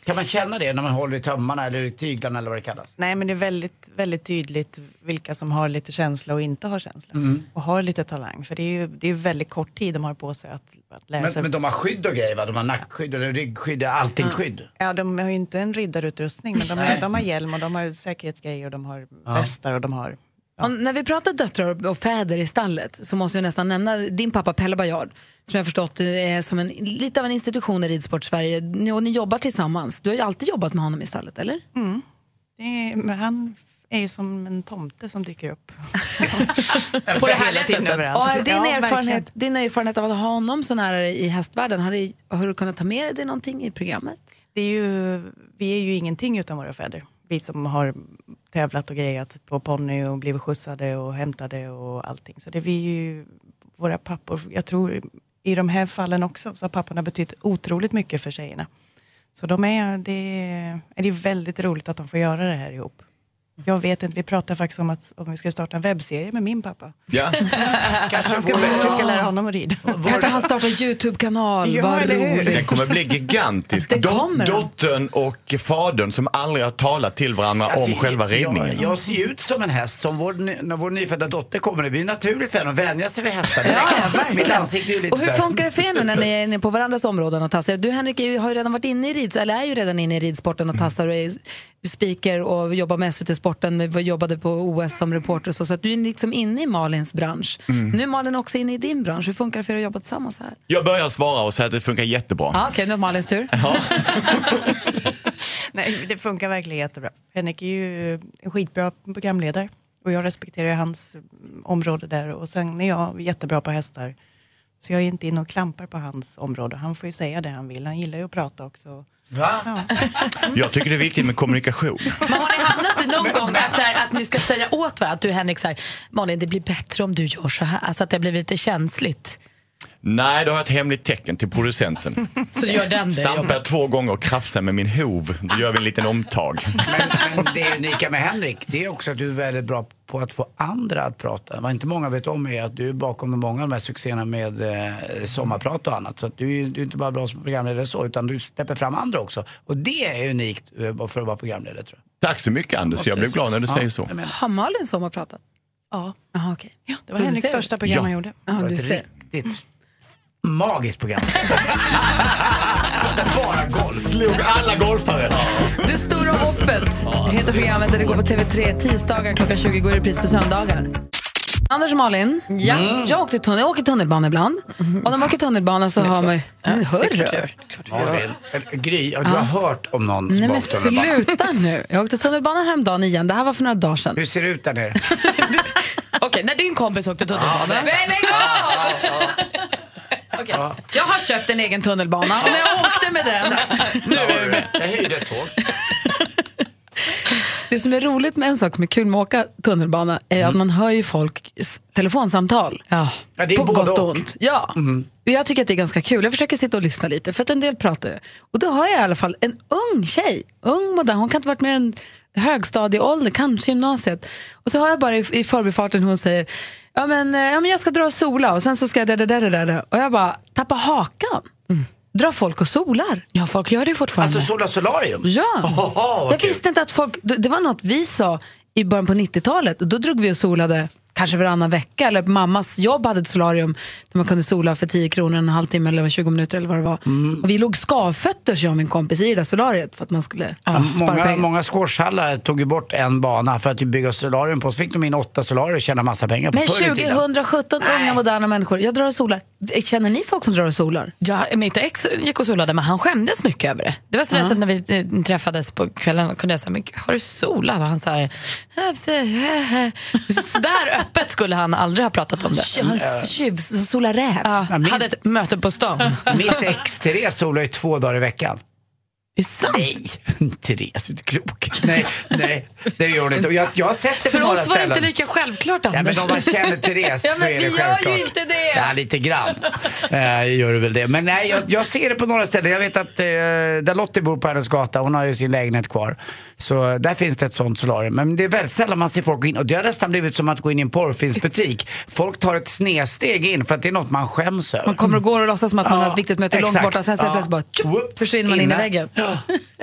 Speaker 2: Kan man känna det när man håller i tömmarna eller i tyglarna eller vad det kallas?
Speaker 13: Nej, men det är väldigt, väldigt tydligt vilka som har lite känsla och inte har känsla.
Speaker 2: Mm.
Speaker 13: Och har lite talang, för det är ju det är ju väldigt kort tid de har på sig att, att lära
Speaker 2: Men,
Speaker 13: sig.
Speaker 2: men de har skydd och grejer va? De har nackskydd eller ryggskydd, allting skydd.
Speaker 13: Ja, de har ju inte en riddarutrustning, men de, har- de har hjälm och de har säkerhetsgrejer och de har västar och de har...
Speaker 1: Och när vi pratar döttrar och fäder i stallet så måste vi nästan nämna din pappa Pelle Bajard som jag förstått är som en, lite av en institution i ridsport Sverige. Ni, och ni jobbar tillsammans. Du har ju alltid jobbat med honom i stallet, eller?
Speaker 13: Mm. Det är, men han är ju som en tomte som dyker upp.
Speaker 1: På det
Speaker 13: härliga sättet.
Speaker 1: Och din,
Speaker 13: Ja, verkligen.
Speaker 1: erfarenhet, din erfarenhet av att ha honom så nära dig i hästvärlden, har du, har du kunnat ta med dig någonting i programmet?
Speaker 13: Det är ju, vi är ju ingenting utan våra fäder. Vi som har tävlat och grejat på ponny och blivit skjutsade och hämtade och allting. Så det är vi ju, våra pappor, jag tror i de här fallen också så har papporna betytt otroligt mycket för tjejerna. Så de är, det, är, det är väldigt roligt att de får göra det här ihop. Jag vet inte, vi pratade faktiskt om att om vi ska starta en webbserie med min pappa.
Speaker 15: Ja.
Speaker 13: Kanske han ska, vi ska lära honom att rida.
Speaker 1: Kan inte han starta en YouTube-kanal?
Speaker 13: Ja,
Speaker 1: Vad
Speaker 13: eller hur?
Speaker 1: roligt.
Speaker 15: Den kommer bli gigantisk.
Speaker 1: Det
Speaker 15: Dot-
Speaker 1: kommer den.
Speaker 15: Dottern och fadern som aldrig har talat till varandra om
Speaker 2: Alltså,
Speaker 15: själva ridningen.
Speaker 2: Jag, jag ser ju ut som en häst. Som vår, ny- när vår nyfödda dotter kommer, det blir naturligt för henne att vänja sig vid hästar. Mitt ansikte är ju lite
Speaker 1: Och hur
Speaker 2: sådär.
Speaker 1: funkar det för er nu när ni är inne på varandras områden och tassar? Du Henrik är ju- har ju redan varit inne i rids, eller är ju redan inne i ridsporten och tassar och är speaker och jobbar med SVT Sporten, Vi jobbade på OS som reporter och så, så att du är liksom inne i Malins bransch.
Speaker 15: Mm.
Speaker 1: Nu är Malin också inne i din bransch, hur funkar det för er att jobba tillsammans här?
Speaker 15: Jag börjar svara och säga att det funkar jättebra.
Speaker 1: Ja, Okej, nu är Malins tur.
Speaker 13: Nej, det funkar verkligen jättebra. Henrik är ju en skitbra programledare och jag respekterar hans mm, område där och sen är jag jättebra på hästar. Så jag är inte inne och klampar på hans område. Han får ju säga det han vill. Han gillar ju att prata också.
Speaker 2: Va?
Speaker 15: Jag tycker det är viktigt med kommunikation.
Speaker 3: Hamnar inte någon gång att, så här, att ni ska säga åt varandra, att du Henrik, så här, Malin det blir bättre om du gör så här, alltså att det blir lite känsligt.
Speaker 15: Nej, då har jag ett hemligt tecken till producenten.
Speaker 3: Så gör den det
Speaker 15: Stampar jag två gånger och krafsar med min hov, då gör vi en liten omtag.
Speaker 2: Men det unika med Henrik, det är också att du är väldigt bra på att få andra att prata. Vad inte många vet om är att du är bakom de många av de här succéerna med eh, sommarprat och annat. Så att du, är- du är inte bara bra som programledare så, utan du släpper fram andra också. Och det är unikt eh, för att vara programledare tror jag.
Speaker 15: Tack så mycket Anders, jag blev glad när du
Speaker 2: Ja,
Speaker 15: säger så.
Speaker 2: jag menar.
Speaker 1: Har Malin sommarpratat? Ja. Aha, okay. ja
Speaker 13: Det var Henriks första program han gjorde.
Speaker 1: Ja, du ser.
Speaker 2: riktigt magiskt program. Bara golf.
Speaker 15: Slog alla golfare.
Speaker 1: Det stora hoppet heter programmet där det går på TV3 tisdagar klockan 20 går i repris på söndagar. Anders och Malin,
Speaker 3: Ja.
Speaker 1: jag, åkte tunnel, jag åker tunnelbana ibland. Och när man åker tunnelbana så har man... Mm, Hörru!
Speaker 2: Malin, eller Gry, har du
Speaker 1: Ja.
Speaker 2: hört om någon
Speaker 1: Nej men
Speaker 2: bakom den här banan?
Speaker 1: sluta nu. Jag åkte tunnelbanan häromdagen igen. Det här var för några dagar sedan.
Speaker 2: Hur ser det ut där nere?
Speaker 3: Okej, när din kompis åkte tunnelbana.
Speaker 1: men lägg Okej. Jag har köpt en egen tunnelbana och när jag åkte med den
Speaker 2: Jag hyrde ett tåg.
Speaker 1: Det som är roligt med en sak som är kul med att åka tunnelbana är
Speaker 3: Mm.
Speaker 1: att man hör ju folk telefonsamtal.
Speaker 2: Ja, det är
Speaker 1: på
Speaker 2: både
Speaker 1: gott och
Speaker 2: och.
Speaker 1: ont. Ja. Och Jag tycker att det är ganska kul. Jag försöker sitta och lyssna lite för att en del pratar ju. Och då har jag i alla fall en ung tjej, ung modern, hon kan inte varit mer än högstadieålder, kanske gymnasiet. Och så har jag bara i, i förbifarten hon säger, ja men, eh, ja men jag ska dra och sola och sen så ska jag där, där, där, där, där. Och jag bara tappar hakan. Drar folk och solar.
Speaker 3: Ja, folk gör det fortfarande.
Speaker 2: Alltså Sola Solarium?
Speaker 1: Ja.
Speaker 2: Ohoho, vad
Speaker 1: jag
Speaker 2: kul.
Speaker 1: visste inte att folk... Det det var något vi sa i början på 90-talet. Och Då drog vi och solade kanske varannan vecka. Eller mammas jobb hade ett solarium där man kunde sola för 10 kronor en halvtimme eller 20 minuter eller vad det var.
Speaker 2: Mm.
Speaker 1: Och vi låg skavfötters, jag och min kompis, i det där solariet för att man skulle
Speaker 2: Ja,
Speaker 1: spara
Speaker 2: många,
Speaker 1: pengar.
Speaker 2: många squashhallar tog ju bort en bana för att bygga solarium på. Så fick de in åtta solarier och tjänade massa pengar på
Speaker 1: Men
Speaker 2: förr i tiden.
Speaker 1: 2017, unga moderna människor. Jag drar och solar. Känner ni folk som drar och solar?
Speaker 3: Ja, mitt ex gick och solade men han skämdes mycket över det. Det var stressigt när vi eh, träffades på kvällen kunde jag säga, men gud, har du solat? Och han sa, sådär öppet skulle han aldrig ha pratat om det.
Speaker 1: Han tjuv, solar räv.
Speaker 3: Ja, hade ett möte på stan.
Speaker 2: Mitt ex Therese solar ju två dagar i veckan.
Speaker 3: Det är sant.
Speaker 2: Nej, Therese, du är inte klok. Nej, nej, det gör hon inte. Och Jag, jag har sett det på
Speaker 3: För
Speaker 2: några
Speaker 3: oss var det
Speaker 2: ställen.
Speaker 3: inte lika självklart Anders.
Speaker 2: Ja, men om man känner Therese
Speaker 3: ja,
Speaker 2: så
Speaker 3: men
Speaker 2: är
Speaker 3: vi
Speaker 2: det självklart.
Speaker 3: gör ju inte det.
Speaker 2: Ja, lite grann eh, gör du väl det. Men nej, jag, jag ser det på några ställen. Jag vet att eh, där Lottie bor på hennes gata, hon har ju sin lägenhet kvar. Så där finns det ett sånt solarium. Men det är väldigt sällan man ser folk gå in. Och det har nästan blivit som att gå in i en porrfilmsbutik. Folk tar ett snedsteg in för att det är något man skäms över.
Speaker 1: Man kommer och går och låtsas som att man
Speaker 2: Ja,
Speaker 1: har ett viktigt möte långt
Speaker 2: exakt.
Speaker 1: borta. Sen så
Speaker 2: Ja.
Speaker 1: plötsligt bara tjup,
Speaker 2: Whoops,
Speaker 1: försvinner man in i
Speaker 2: inne.
Speaker 1: väggen.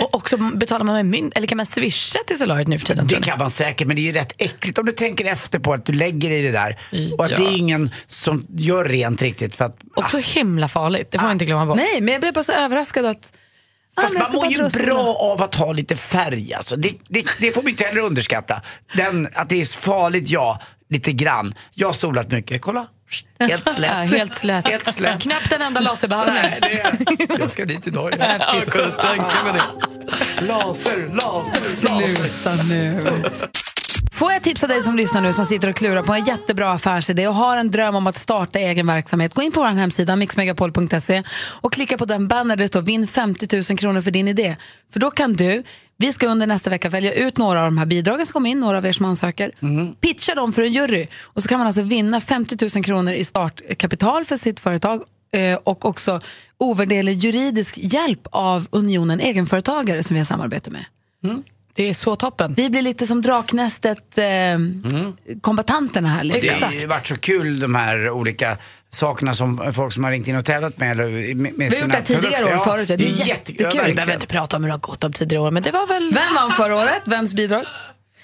Speaker 3: Och också betalar man med mynt, eller kan man swisha till solariet nu för tiden?
Speaker 2: Det kan man säkert, men det är ju rätt äckligt om du tänker efter på att du lägger i det där. Och att
Speaker 3: Ja.
Speaker 2: det är ingen som gör rent riktigt. För att,
Speaker 3: Också himla farligt, det får man inte glömma bort.
Speaker 1: Nej, men jag blev bara så överraskad att... Ah,
Speaker 2: Fast
Speaker 1: men jag
Speaker 2: man
Speaker 1: ska bara
Speaker 2: mår
Speaker 1: dra
Speaker 2: ju
Speaker 1: och sola.
Speaker 2: bra av att ha lite färg. Alltså. Det, det, det får vi inte heller underskatta. Den, att det är farligt, ja. Lite grann. Jag har solat mycket. Kolla. Helt
Speaker 3: Ja,
Speaker 2: slät.
Speaker 3: helt slät.
Speaker 2: Helt slät.
Speaker 3: Knappt en enda laserbehandling.
Speaker 2: Nej, det är, jag ska dit idag.
Speaker 3: Nej, fy fan.
Speaker 2: kunde tänka mig det. Laser, laser, laser.
Speaker 1: Sluta nu. Får jag tipsa dig som lyssnar nu som sitter och klurar på en jättebra affärsidé och har en dröm om att starta egen verksamhet. Gå in på vår hemsida mixmegapol.se och klicka på den banner där det står vinn 50 000 kronor för din idé. För då kan du, vi ska under nästa vecka välja ut några av de här bidragen som kommer in, några av er som ansöker. Pitcha dem för en jury och så kan man alltså vinna 50 000 kronor i startkapital för sitt företag eh, och också ovärderlig juridisk hjälp av Unionen Egenföretagare som vi har samarbete med.
Speaker 3: Det är så toppen.
Speaker 1: Vi blir lite som draknästet eh, kombatanterna här. Lite.
Speaker 2: Det har ju varit så kul de här olika sakerna som folk som har ringt in och tävlat med. eller Med, med
Speaker 1: Vi har gjort det här tidigare år förut. Ja. Det är
Speaker 2: Ja,
Speaker 1: jättekul.
Speaker 2: verkligen.
Speaker 3: prata om hur det har gått om tidigare år, men det var väl...
Speaker 1: Vem vann förra året? Vems bidrag?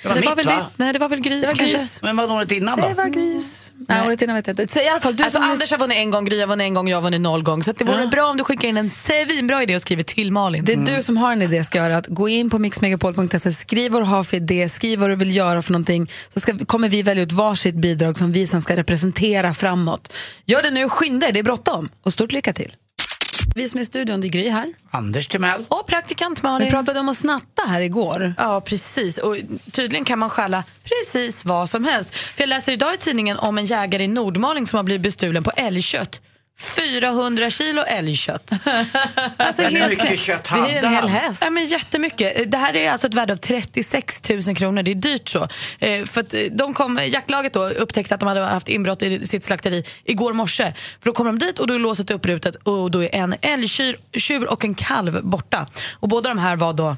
Speaker 2: Det var
Speaker 3: det
Speaker 2: mitt,
Speaker 3: var väl
Speaker 2: va?
Speaker 3: ditt? Nej, det var väl Grys
Speaker 1: Det var
Speaker 3: kanske?
Speaker 1: Grys.
Speaker 2: Men vad var året innan då?
Speaker 1: Det var Grys. Nej, året innan vet jag inte. Så i alla fall, du
Speaker 3: Alltså,
Speaker 1: som
Speaker 3: Anders har vunnit en gång, Gry har vunnit en gång, jag har vunnit noll gång. Så att det vore bra om du skickar in en svinbra idé och skriver till Malin.
Speaker 1: Det är du som har en idé ska göra att gå in på mixmegapol.se, skriv vad du har för idé, skriv vad du vill göra för någonting så ska, kommer vi välja ut varsitt bidrag som vi sen ska representera framåt. Gör det nu, skynda er, det är bråttom och stort lycka till. Vi som är i studion, det är Gry här.
Speaker 2: Anders Timell.
Speaker 3: Och praktikant Malin.
Speaker 1: Vi pratade om att snatta här igår.
Speaker 3: Ja, precis. Och tydligen kan man stjäla precis vad som helst. För jag läser idag i tidningen om en jägare i Nordmaling som har blivit bestulen på älgkött. 400 kilo älgkött. Alltså,
Speaker 2: Men hur
Speaker 3: helt
Speaker 2: mycket
Speaker 3: knä-
Speaker 2: kött hade Det är en hel han? häst.
Speaker 3: Ja, men jättemycket. Det här är alltså ett värde av 36 000 kronor. Det är dyrt så. Eh, För att eh, de kom, jaktlaget då, upptäckte att de hade haft inbrott i sitt slakteri igår morse. För då kommer de dit och då är låset upprutet och då är en älgtjur tjur och en kalv borta. Och båda de här var då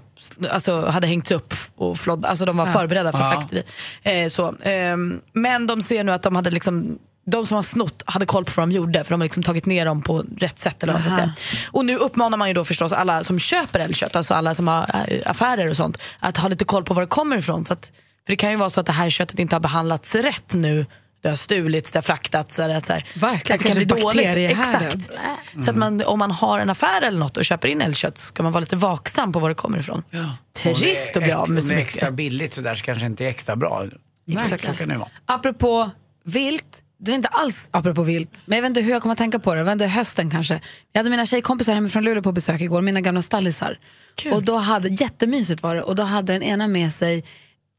Speaker 3: Alltså hade hängts upp och flodd, alltså de var
Speaker 1: Ja.
Speaker 3: förberedda för
Speaker 1: Ja.
Speaker 3: slakteri. Eh, så. ehm, men de ser nu att de hade liksom de som har snott hade koll på vad de gjorde för de har liksom tagit ner dem på rätt sätt. Eller vad man ska
Speaker 1: Aha.
Speaker 3: säga. Och nu uppmanar man ju då förstås alla som köper älgkött, alltså alla som har eh, affärer och sånt, att ha lite koll på var det kommer ifrån. Så att, för det kan ju vara så att det här köttet inte har behandlats rätt nu. Det har stulits, det har fraktats. Eller att så här,
Speaker 1: Verkligen,
Speaker 3: att det kan
Speaker 1: kanske
Speaker 3: bli dåligt.
Speaker 1: bakteriehärden.
Speaker 3: Exakt. Så att man, om man har en affär eller något och köper in älgkött ska man vara lite vaksam på var det kommer ifrån. Trist att bli av med så
Speaker 2: Om det är extra
Speaker 3: mycket.
Speaker 2: billigt så där så kanske inte är extra bra.
Speaker 1: Verkligen.
Speaker 2: Så kan det vara.
Speaker 1: Apropå vilt, det var inte alls apropå vilt, men jag vet inte hur jag kommer att tänka på det, det var ändå hösten kanske. Jag hade mina tjejkompisar hemifrån Luleå på besök igår, mina gamla stallisar. Och då hade, jättemysigt var det, och då hade den ena med sig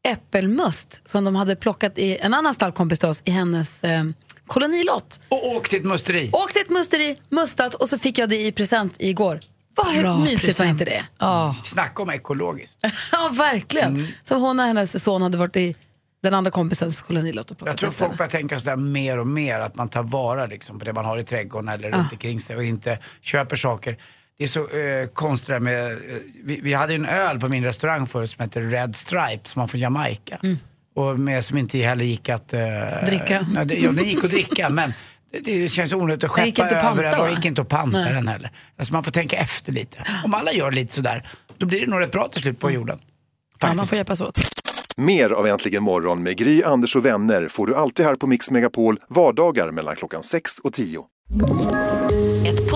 Speaker 1: äppelmust som de hade plockat i en annan stallkompis till oss i hennes eh, kolonilott.
Speaker 2: Och åk till ett musteri.
Speaker 1: Åkte till ett musteri, mustat och så fick jag det i present igår. Vad
Speaker 2: Bra
Speaker 1: mysigt var
Speaker 2: present. Mm.
Speaker 1: inte det?
Speaker 2: Snacka om ekologiskt.
Speaker 1: ja, verkligen. Så hon och hennes son hade varit i den andra kompisens kolonilott och plockat
Speaker 2: Jag tror
Speaker 1: äpplen.
Speaker 2: folk börjar tänka sådär mer och mer att man tar vara liksom, på det man har i trädgården eller
Speaker 1: Ja.
Speaker 2: runt omkring sig och inte köper saker. Det är så eh, konstigt det här med, eh, vi, vi hade ju en öl på min restaurang förut som heter Red Stripe som var från Jamaica. Och med, som inte heller gick att... eh,
Speaker 1: Mm. Dricka.
Speaker 2: Nej, det, ja, den gick att dricka men det, det känns onödigt att
Speaker 1: Den gick
Speaker 2: skeppa
Speaker 1: inte att
Speaker 2: över
Speaker 1: panta,
Speaker 2: den.
Speaker 1: va?
Speaker 2: Den gick inte att panta
Speaker 1: Nej.
Speaker 2: den heller. Alltså man får tänka efter lite. Om alla gör lite sådär, då blir det nog rätt bra till slut på jorden.
Speaker 3: Ja, man får hjälpas åt.
Speaker 16: Mer av Äntligen morgon med Gry, Anders och vänner får du alltid här på Mix Megapol vardagar mellan klockan 6 och 10.
Speaker 17: Ett